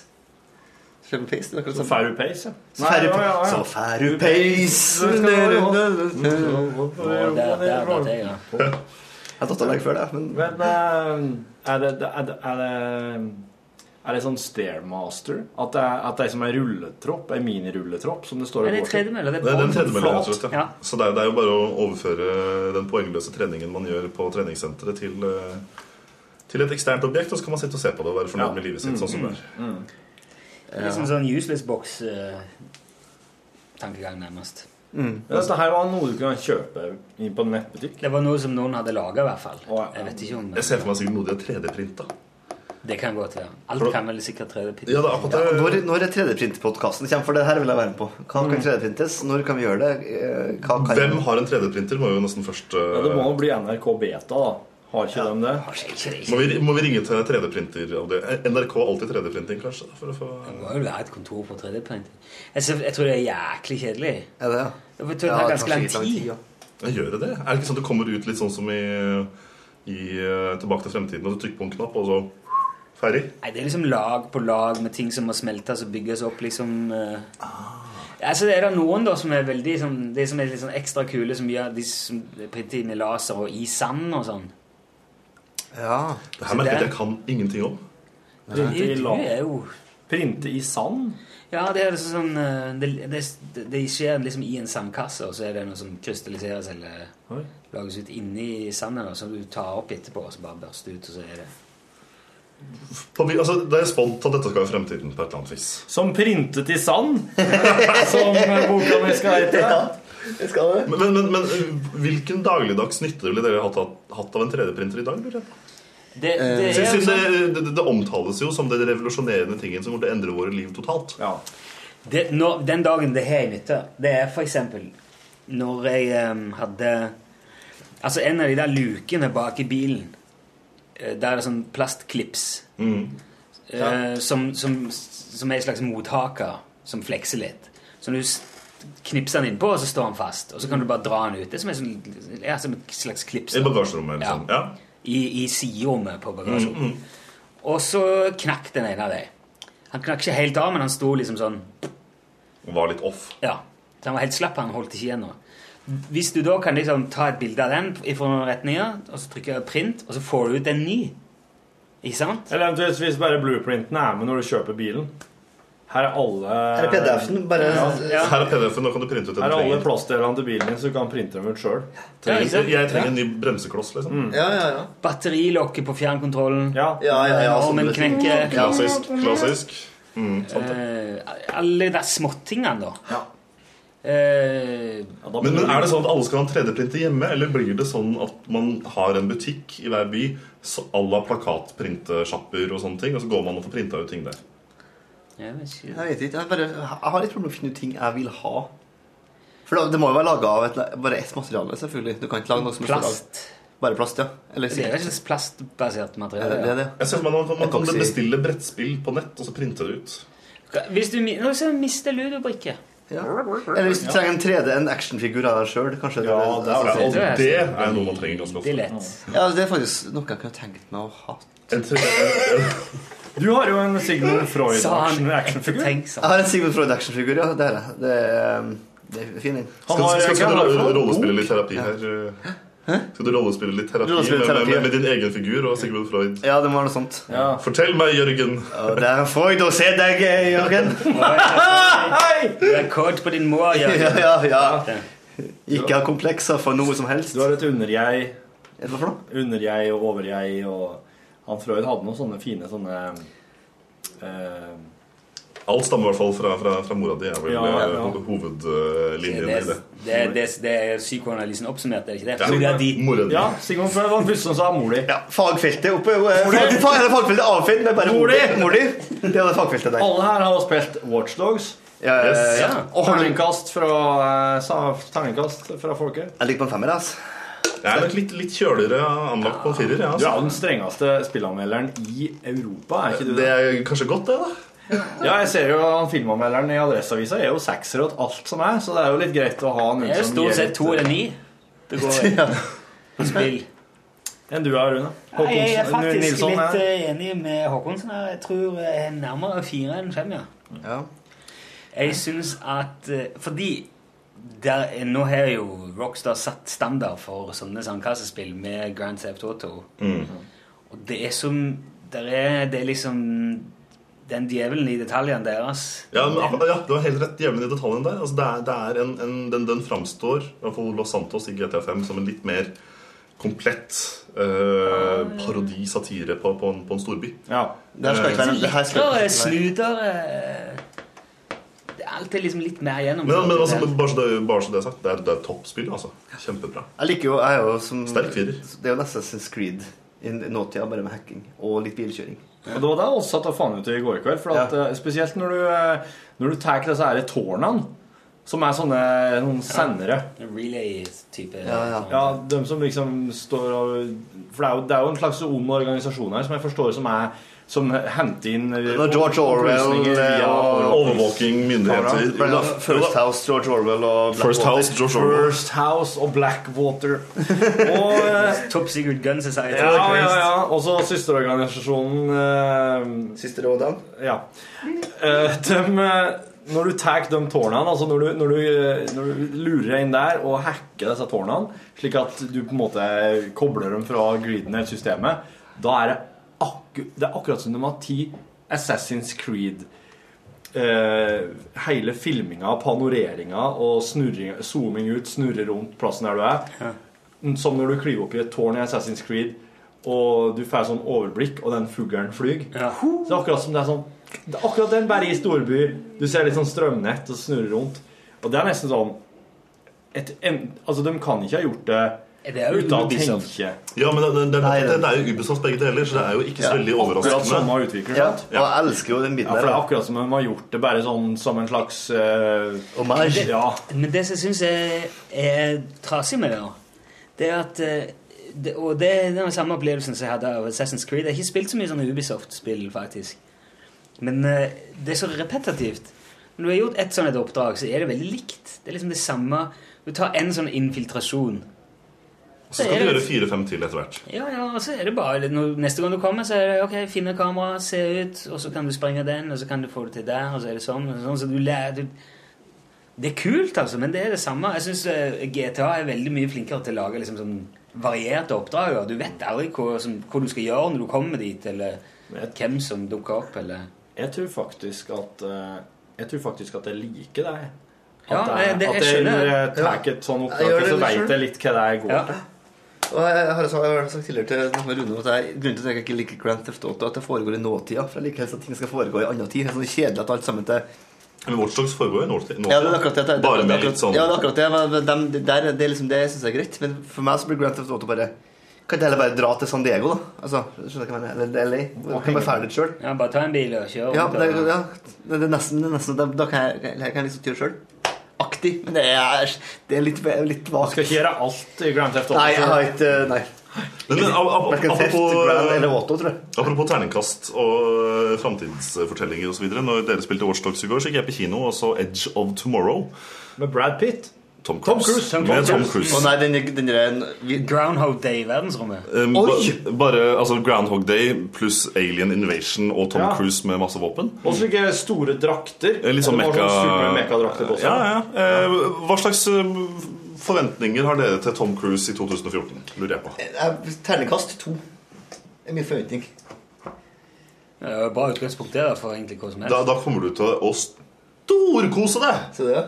Fem pace, det er Så akkurat sånn. fær du pace, ja. Så fær du Nei, ja, ja, ja. pace. Så fær du pace. der- der datt jeg, ja. Jeg datt av deg før det, men Men eh, er, det, er, det, er, det, er det sånn stairmaster? At det er, at det er som en rulletropp? En minirulletropp som det står og Er det går til? tredemølle? Det Det er bare den tredemølla, flat. rett og slett. Ja. Så det er, det er jo bare å overføre den poengløse treningen man gjør på treningssenteret, til, eh, til et eksternt objekt, og så kan man sitte og se på det og være fornøyd med livet sitt sånn som det er. Liksom sånn useless box-tankegang, nærmest. Men Dette her var noe du kunne kjøpe inn på en nettbutikk? Det var noe som noen hadde laga, i hvert fall. Jeg vet ikke om Jeg ser for meg sikkert noe de har 3D-printa. Det kan godt være. Alt kan vel sikkert 3D-printe. Ja, når, når er 3D-printpodkasten kommer? For det her vil jeg være med på. Hva kan 3D-printes? Når kan vi gjøre det? Eh, Hva kan Hvem har en 3D-printer? Må jo nesten først eh, Ja, det må jo bli NRK Beta, da. Har ikke de det? må, vi, må vi ringe til 3D-printer? av det? Eh, NRK har alltid 3D-printing, kanskje? da, For å få Det må jo være et kontor på 3D-printing. Jeg, ser- jeg tror det er jæklig kjedelig. Er det? Det får ta ganske lang tid. Ja, gjør det det? Er det ikke sånn at du kommer ut litt sånn som i, i eh, Tilbake til fremtiden, og du trykker på en knapp, og så ferdig? Nei, det er liksom lag på lag med ting som må smeltes og bygges opp, liksom. eh. Altså, det er det noen da som er veldig sånn, De som er litt sånn ekstra kule, som gjør de som printer med laser og i sand og sånn. Ja. Det her merket jeg kan ingenting om. Printe i Du er jo- Printe i sand? Ja, det er liksom sånn eh, Det, det, det skjer liksom i en sandkasse, og så er det noe som krystalliseres eller Oi. lages ut inni sanden, og så du tar opp etterpå, og så bare børster du ut, og så er det På, vi- altså, det er spådd at dette skal være fremtiden på et eller annet vis. Som printet i sand, som boka mi skal hete. Men, men, men, men øh, hvilken dagligdags nytte ville dere hatt, hatt av en 3D-printer i dag? lurer jeg på? Eh, Det, Siden- det er jo siden sånn- det, det, det omtales jo som den revolusjonerende tingen som kommer til å endre våre liv totalt. Det, når, den dagen det har jeg nytte, det er for eksempel når jeg em, hadde Altså, en av de der lukene bak i bilen, eh, der er det sånn plastklips Mm. eh, som, som, som er en slags mottaker som flekser litt. Så når du s- knipser den innpå, så står den fast. Og så kan du bare dra den ut. Det er som, en sånn, ja, som et slags klips. I bagasjerommet, liksom. Ja. I, i siderommet på Mm, bagasjerommet. mm. Og så knakk den ene av dem. Han knakk ikke helt av, men han sto liksom sånn Var litt off. Ja. Så han var helt slapp, han holdt ikke igjen noe. Hvis du da kan liksom ta et bilde av den fra noen retninger, og så trykker jeg print, og så får du ut en ny. Ikke sant? Eller eventuelt hvis bare blueprinten er med når du kjøper bilen. Her er alle Her er PDF-en, bare- Her er PDF-en, da kan du printe Her ut den er du alle trenger. plastdelene til bilen din, så du kan printe dem ut sjøl. Trenger- Ja, ikke sant? jeg trenger en ny bremsekloss, liksom. Mm. Batterilokket på fjernkontrollen. Ja, ja, ja, altså, Armen sånn- knekker. Klassisk, klassisk. Mm, sant det. Eh, alle de småtingene, da. Eh, Ja. men, men er det sånn at alle skal ha en 3D-printer hjemme, eller blir det sånn at man har en butikk i hver by så à la plakatprintesjapper og sånne ting, og så går man og får printa ut ting der? Jeg vet ikke. Jeg vet ikke, jeg, bare, jeg har litt problemer med å finne ut ting jeg vil ha. For det, det må jo være laga av et, bare ett materiale, selvfølgelig. Du kan ikke lage noe som er så Plast. laget- Bare plast, ja. Eller Det er silke. jo et slags plastbasert materiale. Ja, det er det. Jeg ser for meg at man Jeg kan kan ikke si- bestille brettspill på nett, og så printe det ut. Hvis du mi- Nå skal jeg miste ludobrikke. Eller hvis du trenger en 3D, en actionfigur av deg sjøl, kanskje. Ja, Og det er noe man trenger ganske ofte. Ja, det er faktisk noe jeg kunne tenkt meg å ha. Du har jo en Sigmund Sa han- Freud-actionfigur. Tenk sånn. Jeg har en Sigmund Freud-actionfigur, ja. Det er det. Det er, um, det er fin, den. Skal, skal, skal, du rollespille litt terapi her? Skal du rollespille litt terapi, Rollespille med, terapi, med, ja. med din egen figur og Sigmund Freud? Ja, det må være noe sånt. Fortell meg, Jørgen. Det er Freud å se deg, Jørgen. Hei! Rekord på din mor, Jørgen. Ja, ja, ja. Ikke ha komplekser for noe som helst. Du har et underjeg. Hva for noe? Underjeg og overjeg og Han Freud hadde noen sånne fine sånne eh, Alt stammer i hvert fall fra, fra, fra mora di. er vel Ja, ja. eh, hovedlinjen Det, i det. det, det, det er psykoanalysen oppsummert, er det ikke det? Ja. Mora di. Mora di. Ja, Sigmund Freud var den første som sa mor di. Ja, fagfeltet oppe Fag- Hele fagfeltet avfint med bare mor di. Mor di. Det er det fagfeltet der. Alle her har spilt Watchdogs. Ja, ja, ja. ja. Og har du- Terningkast fra, eh, sa- terningkast fra folket. Jeg ligger på en femmer, altså. Jeg er nok litt, litt kjøligere eh, anlagt på en firer. Ja, altså. Du er den strengeste spillanmelderen i Europa. er ikke du Det er kanskje godt, det, da. Ja, jeg ser jo han filmanmelderen i Adresseavisa er jo sekser og alt som er, så det er jo litt greit å ha noen Det er jo som stort gir sett litt- to eller ni. Det går Spill. Enn du er, Rune. Nei, jeg er Håkonsen- faktisk Nilsson er- litt eh, enig med Håkonsen her. Jeg tror eh, jeg er nærmere fire enn fem, ja. Jeg syns at eh, Fordi der, er- nå har jo Rockstar satt standard for sånne sandkassespill med Grand Theft Auto. Og det er som der er, Det er liksom den djevelen i detaljene deres. Ja, men, ak- ja, Du har helt rett jævlig i detaljen der. Altså, det er, det er en, en, den, den framstår, i hvert fall Los Santos i GTA5, som en litt mer komplett eh, parodi, satire, på, på, en, på en storby. Ja. Det her skal ikke være- det her skal ikke være- Snuter eh, Det er alltid liksom litt mer gjennom. Men, men altså, bare, så det, bare så det er sagt, det er, det er toppspill. altså. Kjempebra. Jeg liker jo, jeg er jo som Sterk firer. Det er jo nesten Assassin's Creed i nåtida, bare med hacking og litt bilkjøring. Og det var det jeg også satt og fant ut i går kveld. For at, eh, Spesielt når du, eh, når du tar disse her tårnene, som er sånne noen sendere. Relay-type. Ja, ja. de som liksom står og For det er jo, det er jo en slags ond organisasjon her, som jeg forstår som er som henter inn eh, Når George Orwell eh, og overvåking, myndigheter. Blant annet First House, George Orwell og Blackwater. First House, George Orwell. First House og Blackwater. Og, eh, Top Secret Gun Society. Ja, ja, ja. Og så søsterorganisasjonen eh, Sisterådene? Ja. Eh, dem, eh, når du tar de tårnene, altså når du, når, du, eh, når du lurer inn der og hacker disse tårnene, slik at du på en måte kobler dem fra griden eller systemet, da er det, akku, det er akkurat som de har ti Assassin's Creed. Eh, hele filminga, panoreringa og snurring, zooming ut, snurre rundt plassen der du er. Som når du klyver opp i et tårn i Assassin's Creed, og du får sånn overblikk, og den fuglen flyr. Så det er akkurat som det er sånn det er Akkurat den bare i storby. Du ser litt sånn strømnett og snurrer rundt. Og det er nesten sånn et, en, Altså, de kan ikke ha gjort det, Det er jo uten å Ubisoft. tenke. Ja, men det, det, det, det, det er jo Ubisoft begge deler, så det er jo ikke så veldig overraskende. Akkurat samme utvikler, Ja, sant? og jeg elsker jo den Ja, for det er akkurat som om de har gjort det bare sånn som en slags uh, Homage. Ja. Men det som jeg syns er, er trasig med det, da, det er at eh, det, Og det er den samme opplevelsen som jeg hadde av Assassin's Creed. Jeg har ikke spilt så mye sånne Ubisoft-spill, faktisk. Men eh, det er så repetitivt. Når du har gjort ett sånt et oppdrag, så er det veldig likt. Det er liksom det samme Du tar en sånn infiltrasjon. Så skal du gjøre fire-fem til etter hvert. Ja, ja, og så er det bare når, Neste gang du kommer, så er det ok, finne kamera, se ut, og så kan du sprenge den, og så kan du få det til der, og så er det sånn. Og sånn så du lærer du, Det er kult, altså, men det er det samme. Jeg synes eh, GTA er veldig mye flinkere til å lage liksom, sånn varierte oppdrag. og Du vet aldri hva, som, hva du skal gjøre når du kommer dit, eller hvem som dukker opp. eller... Jeg tror faktisk at eh, Jeg tror faktisk at jeg liker deg. At Ja, jeg, det- det- at jeg jeg, skjønner. når jeg Ja. tar et sånn Jeg gjør oppdrag, det så litt selv. veit jeg litt hva det er jeg går til. Og jeg har sagt, jeg har sagt tidligere til denne Rune at jeg, Grunnen til at jeg ikke liker Grand Theft Auto, er at det foregår i nåtida. For jeg liker helst at ting skal foregå i annen tid. Det er sånn kjedelig at alt sammen til Men Watchdogs foregår jo nå til nå Ja, det er akkurat det. det, det, Bare det, med akkurat- litt sånn Ja, det er akkurat det. men- men dem- det, der, det, er liksom, det syns jeg er greit. Men for meg så blir Grand Theft Auto bare Kan ikke heller bare dra til San Diego, da? Altså, skjønner du hva jeg mener? Eller LA. Kan jeg bare ferdig sjøl. Ja, bare ta en bil og kjøre. Ja, rundt det, og- ja, det det er nesten, det er nesten da, da kan jeg, jeg kan liksom gjøre sjøl. Aktig. Men det er, det er litt, litt vagt. Skal ikke gjøre alt i Grand Theft Auto. Nei, jeg har ikke Nei. Men, men, ap- ap- Hverken Theft, apropos, Grand eh, eller Auto, tror jeg. apropos terningkast og eh, framtidsfortellinger osv. Når dere spilte Watchdogs i går, så gikk jeg på kino og så Edge of Tomorrow. Med Brad Pitt? Tom Cruise. Med Tom Cruise. Å nei, den, den der Groundhog Day i verdensrommet. Um, ba- Bare altså Groundhog Day pluss Alien Invasion og Tom Ja. Cruise med masse våpen. Og slike store drakter. Eh, Litt sånn Det var mekka... Sånn mekadrakter på seg. Ja, ja. Eh, Hva slags eh, forventninger har dere til Tom Cruise i 2014? Lurer jeg på. Jeg- Terningkast to. Det er min forventning. Det er jo Bra utgangspunkt det da, for egentlig hva som helst. Da, da kommer du til å storkose deg! Så det?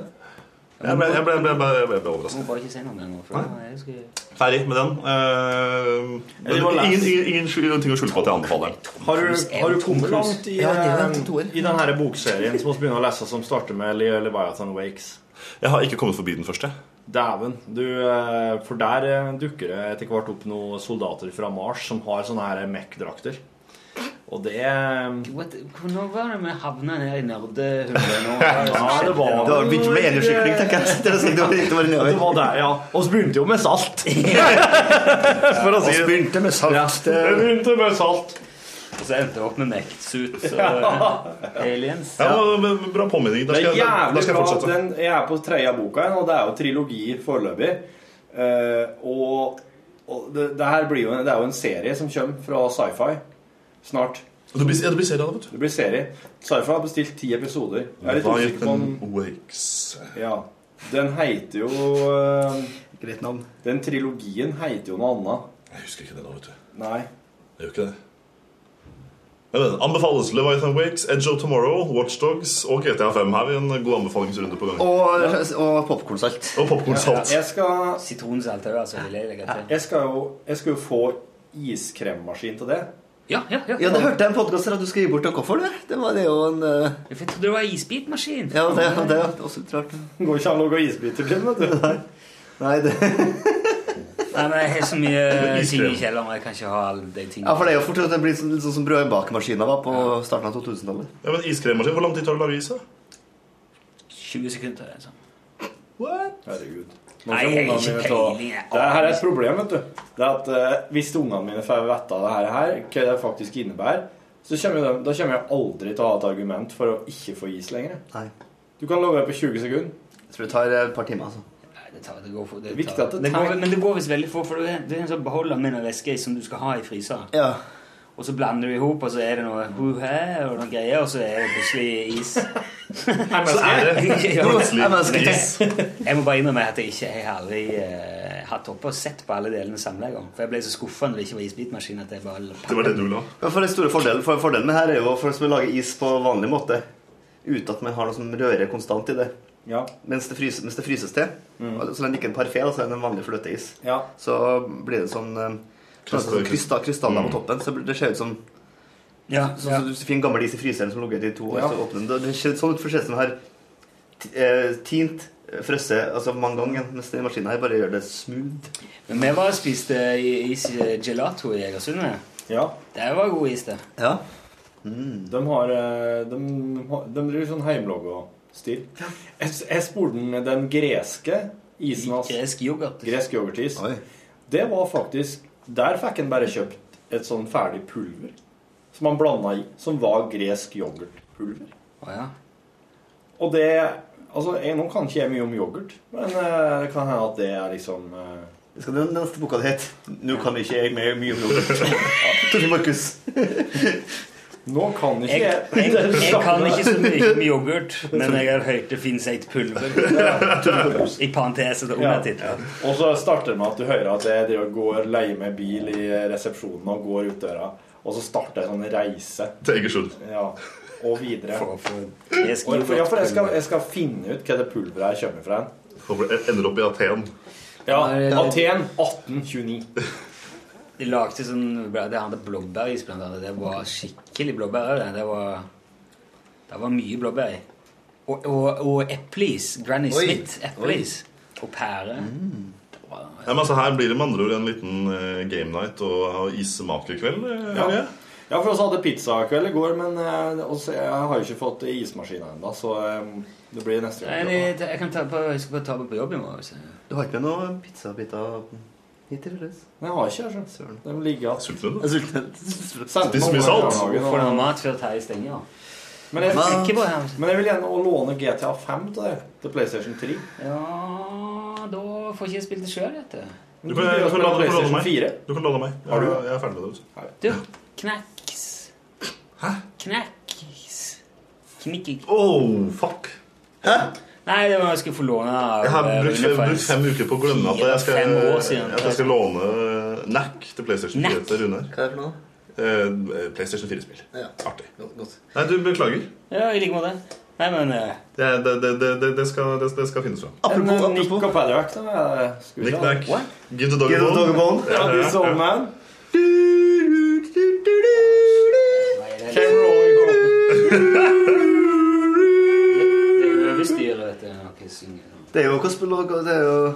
Jeg ble, jeg ble, jeg ble, jeg ble, jeg ble overrasket. Må bare ikke si noe mer nå. For da er det skal... Ferdig med den. Eh, Ja, det men var ingen, last. ingen, ingen skyld- ting å skylde på at jeg anbefaler den. Har du, har du kommet langt i, Ja, det er jo en eh, i den her bokserien som vi begynner å lese, som starter med Le- Leviathan Wakes? Jeg har ikke kommet forbi den første. Dæven. Du, eh, for der eh, dukker det etter hvert opp noen soldater fra Mars som har sånne her Mech-drakter. Og det eh, Nei, What, nå var det vi havna ned i nerdehullet nå? det var Det var begynt med elgkykling, tenker jeg. Det sånn var- det var- det var nedover. Det var der, ja. Og så begynte jo med salt. For å si det. begynte med salt. Det begynte med salt. Og så endte det opp med mektsuit og Ja. aliens. Ja, men- men Bra påminning. Da Det skal, er jeg- da, da jævlig skal jeg bra. fortsette. Den, jeg er på tredje boka igjen, og det er jo trilogi foreløpig. Eh, og og det, det her blir jo en, det er jo en serie som kommer fra sci-fi snart. Det blir, ja, det blir serie av det, vet du. Det blir serie. Sci-fi har bestilt ti episoder. Jeg er litt usikker på om Ja. Den heter jo Greit navn. Den trilogien heter jo noe annet. Jeg husker ikke det nå, vet du. Nei. Det gjør ikke det. Men, men, anbefales Leviathan Wakes, Edge of Tomorrow, Watchdogs og GTA5. Her er en god anbefalingsrunde på gang. Og, og popkornsalt. Og popkornsalt. Jeg skal Sitronsalt òg, altså. Vil jeg legge til. Jeg skal jo, jeg skal jo få iskremmaskin til det. Ja, ja, ja. Ja, det hørte jeg i en podkast at du skal gi bort til koffer, du. Det var det er jo en eh, Jeg trodde det var isbitmaskin. Ja, det, ja, det er også litt rart. Går ikke an å lage isbiter til, vet du. Nei, det Nei, men jeg har så mye ting Iskrem. i kjelleren, jeg kan ikke ha alle de tingene. Ja, for det er jo fort at det blir sånn, litt sånn som brødbakemaskina var på starten av 2000-tallet. Ja, men iskremmaskin, Hvor lang tid tar det å lage is? da? 20 sekunder. Altså. Herregud. Nå Nei, skal jeg ungene har ikke mine ta- peiling. jeg. Det her er et problem, vet du. Det er at eh, Hvis ungene mine får vite av det her, her, hva det faktisk innebærer, så kommer de, da kommer jeg aldri til å ha et argument for å ikke få is lenger. Nei. Du kan lage det på 20 sekunder. Jeg tror det tar et par timer. altså. Nei, det, tar, det går for, det Viktig tar- at det det går, tar- Men det går visst veldig fort, for det er, det er en sånn beholder med noe væske i som du skal ha i fryseren. Ja. Og så blander du i hop, og så er det noe huhe og noen greier, og så er det plutselig is. Så er det Ja, men- plutselig Ja, men skal- is. Jeg må bare innrømme at jeg ikke jeg har aldri eh, hatt oppe og sett på alle delene samla en gang. For jeg ble så skuffa når det ikke var isbitmaskin at jeg bare Det var det du ville ha. Ja, for den store fordelen, for fordelen med her er jo for oss å lage is på vanlig måte uten at man har noe som rører konstant i det. Ja. Mens det, fryses, mens det fryses til. Mm. Og Så lenge det ikke er en parfé, da, så er det en vanlig fløteis. Ja. Så blir det sånn eh, Krystaller. sånn krysta- krystaller Mm. på toppen. Så det ser ut som ja, Sånn som du finner gammel is i fryseren som har ligget i to år. Ja. Så åpner den. Det- Det ser sånn ut for seg som den har t- eh, tint, eh, frosset altså mange ganger. Mens den maskinen her bare gjør det smooth. Men vi var og spiste i- is eh, gelato i Egersund. vi. Ja. Det var god is, det. Ja. De har eh, De, har- de driver sånn heimlogo-stil. Jeg, jeg spurte den, den greske isen hans. Gresk yoghurt. Gresk yoghurtis. Det var faktisk Der fikk en bare kjøpt et sånn ferdig pulver som han blanda i, som var gresk yoghurtpulver. Og det Altså, jeg, nå kan ikke jeg mye om yoghurt, men eh, det kan hende at det er liksom eh, Det skal den neste boka di hete. Nå kan ikke jeg mer mye om yoghurt. Torfinn Markus. Nå kan ikke Jeg, jeg, jeg kan ikke så mye om yoghurt, men jeg har hørt det fins et pulver. I parentese til undertid. Og så starter det med at du hører at det, det går leie med bil i resepsjonen og går ut døra. Og så starter en sånn reise. Til Egersund. Ja, og videre. For- jeg skal, for, ja, for jeg, skal, jeg skal finne ut hva det pulveret her kommer fra. Håper det ender opp i Aten. Ja, Aten 1829. De lagde sånn Det hadde blåbæris blant annet. Det var skikkelig blåbær. Det, det, var, det var mye blåbær. i. Og, og, og epleis. Granny Oi. Smith. Epleis. Og pære. Nei, men altså Her blir det med andre ord en liten eh, game night og, og ismakerkveld. eh, Ja. Helge. ja, for oss hadde pizzakveld i går, men eh, også, jeg har jo ikke fått ismaskina ennå, så eh, det blir neste Nei, gang. det, det, jeg, kan ta på, jeg skal bare ta på på jobb i morgen. hvis jeg- Du har ikke med noen pizzabiter hit, eller? Nei, jeg har ikke, altså. Søren. De ligger Sulten, da? Sulten. Får noe mat før Terje stenger. Men jeg, Men- Ikke bare her. men jeg vil gjerne å låne GTA 5 til deg. Til PlayStation 3. Ja, da får ikke jeg spilt det sjøl, vet du. Du kan, du kan lade, du kan lade meg. Du kan lade meg. Jeg, Har du? jeg er ferdig med det. vet Du, knacks. Knacks. Knikkik. Oh, fuck. Hæ? Nei, det var jeg skulle få låne av Jeg har eh, brukt, Rune for en brukt fem uker på å glemme at jeg skal, fire-fem år siden. at jeg skal låne eh, NAC til PlayStation 4 til Rune. Hva er det for noe? Eh, PlayStation 4-spill. Ja. Artig. Godt. Nei, du beklager. Ja, i like måte. Nei, men eh, Det, det, det, det, det, det, skal, det, det skal finnes fram. Apropos, apropos. Nick og Paddock, da. eh, skal vi se. Knick-knack. What? Give the dog a bone. Ja, Ja, ja, This Old ja. Man. det er overstyret, vet du. når dere synger. Det er jo gospel-lag, og det er jo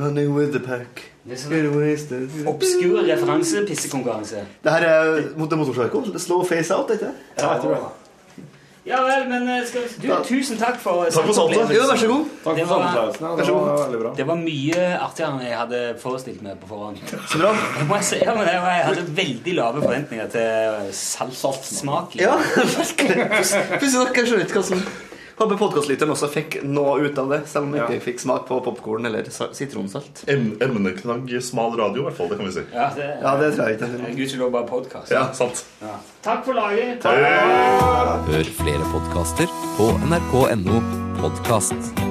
Running with the pack. Det er Get sånn wasted. obskur referanse-pissekonkurranse. Det her er mot det motorsjarko. Slow face out, ikke Ja, jeg tror det. Ja vel, men eh, skal vi... Du, tusen takk for Takk for samtalen. Ja, vær så god. Takk for Det var- samtalen, Klausen. Ja, det Vær så god. var veldig bra. Det var mye artigere enn jeg hadde forestilt meg på forhånd. Så bra. Jeg, må si, ja, men jeg, jeg hadde veldig lave forventninger til saltsmak. Ja, virkelig. Plutselig nok, jeg skjønner ikke hva som Håper podkastlytteren også fikk noe ut av det, selv om jeg ikke fikk smak på popkorn eller sa- sitronsalt. Emneknagg smal radio, i hvert fall. Det kan vi si. Ja, det- Ja, det tror jeg ikke. Gudskjelov bare podkast. Ja, sant. Takk for laget. Hei. Hør flere podkaster på nrk.no podkast.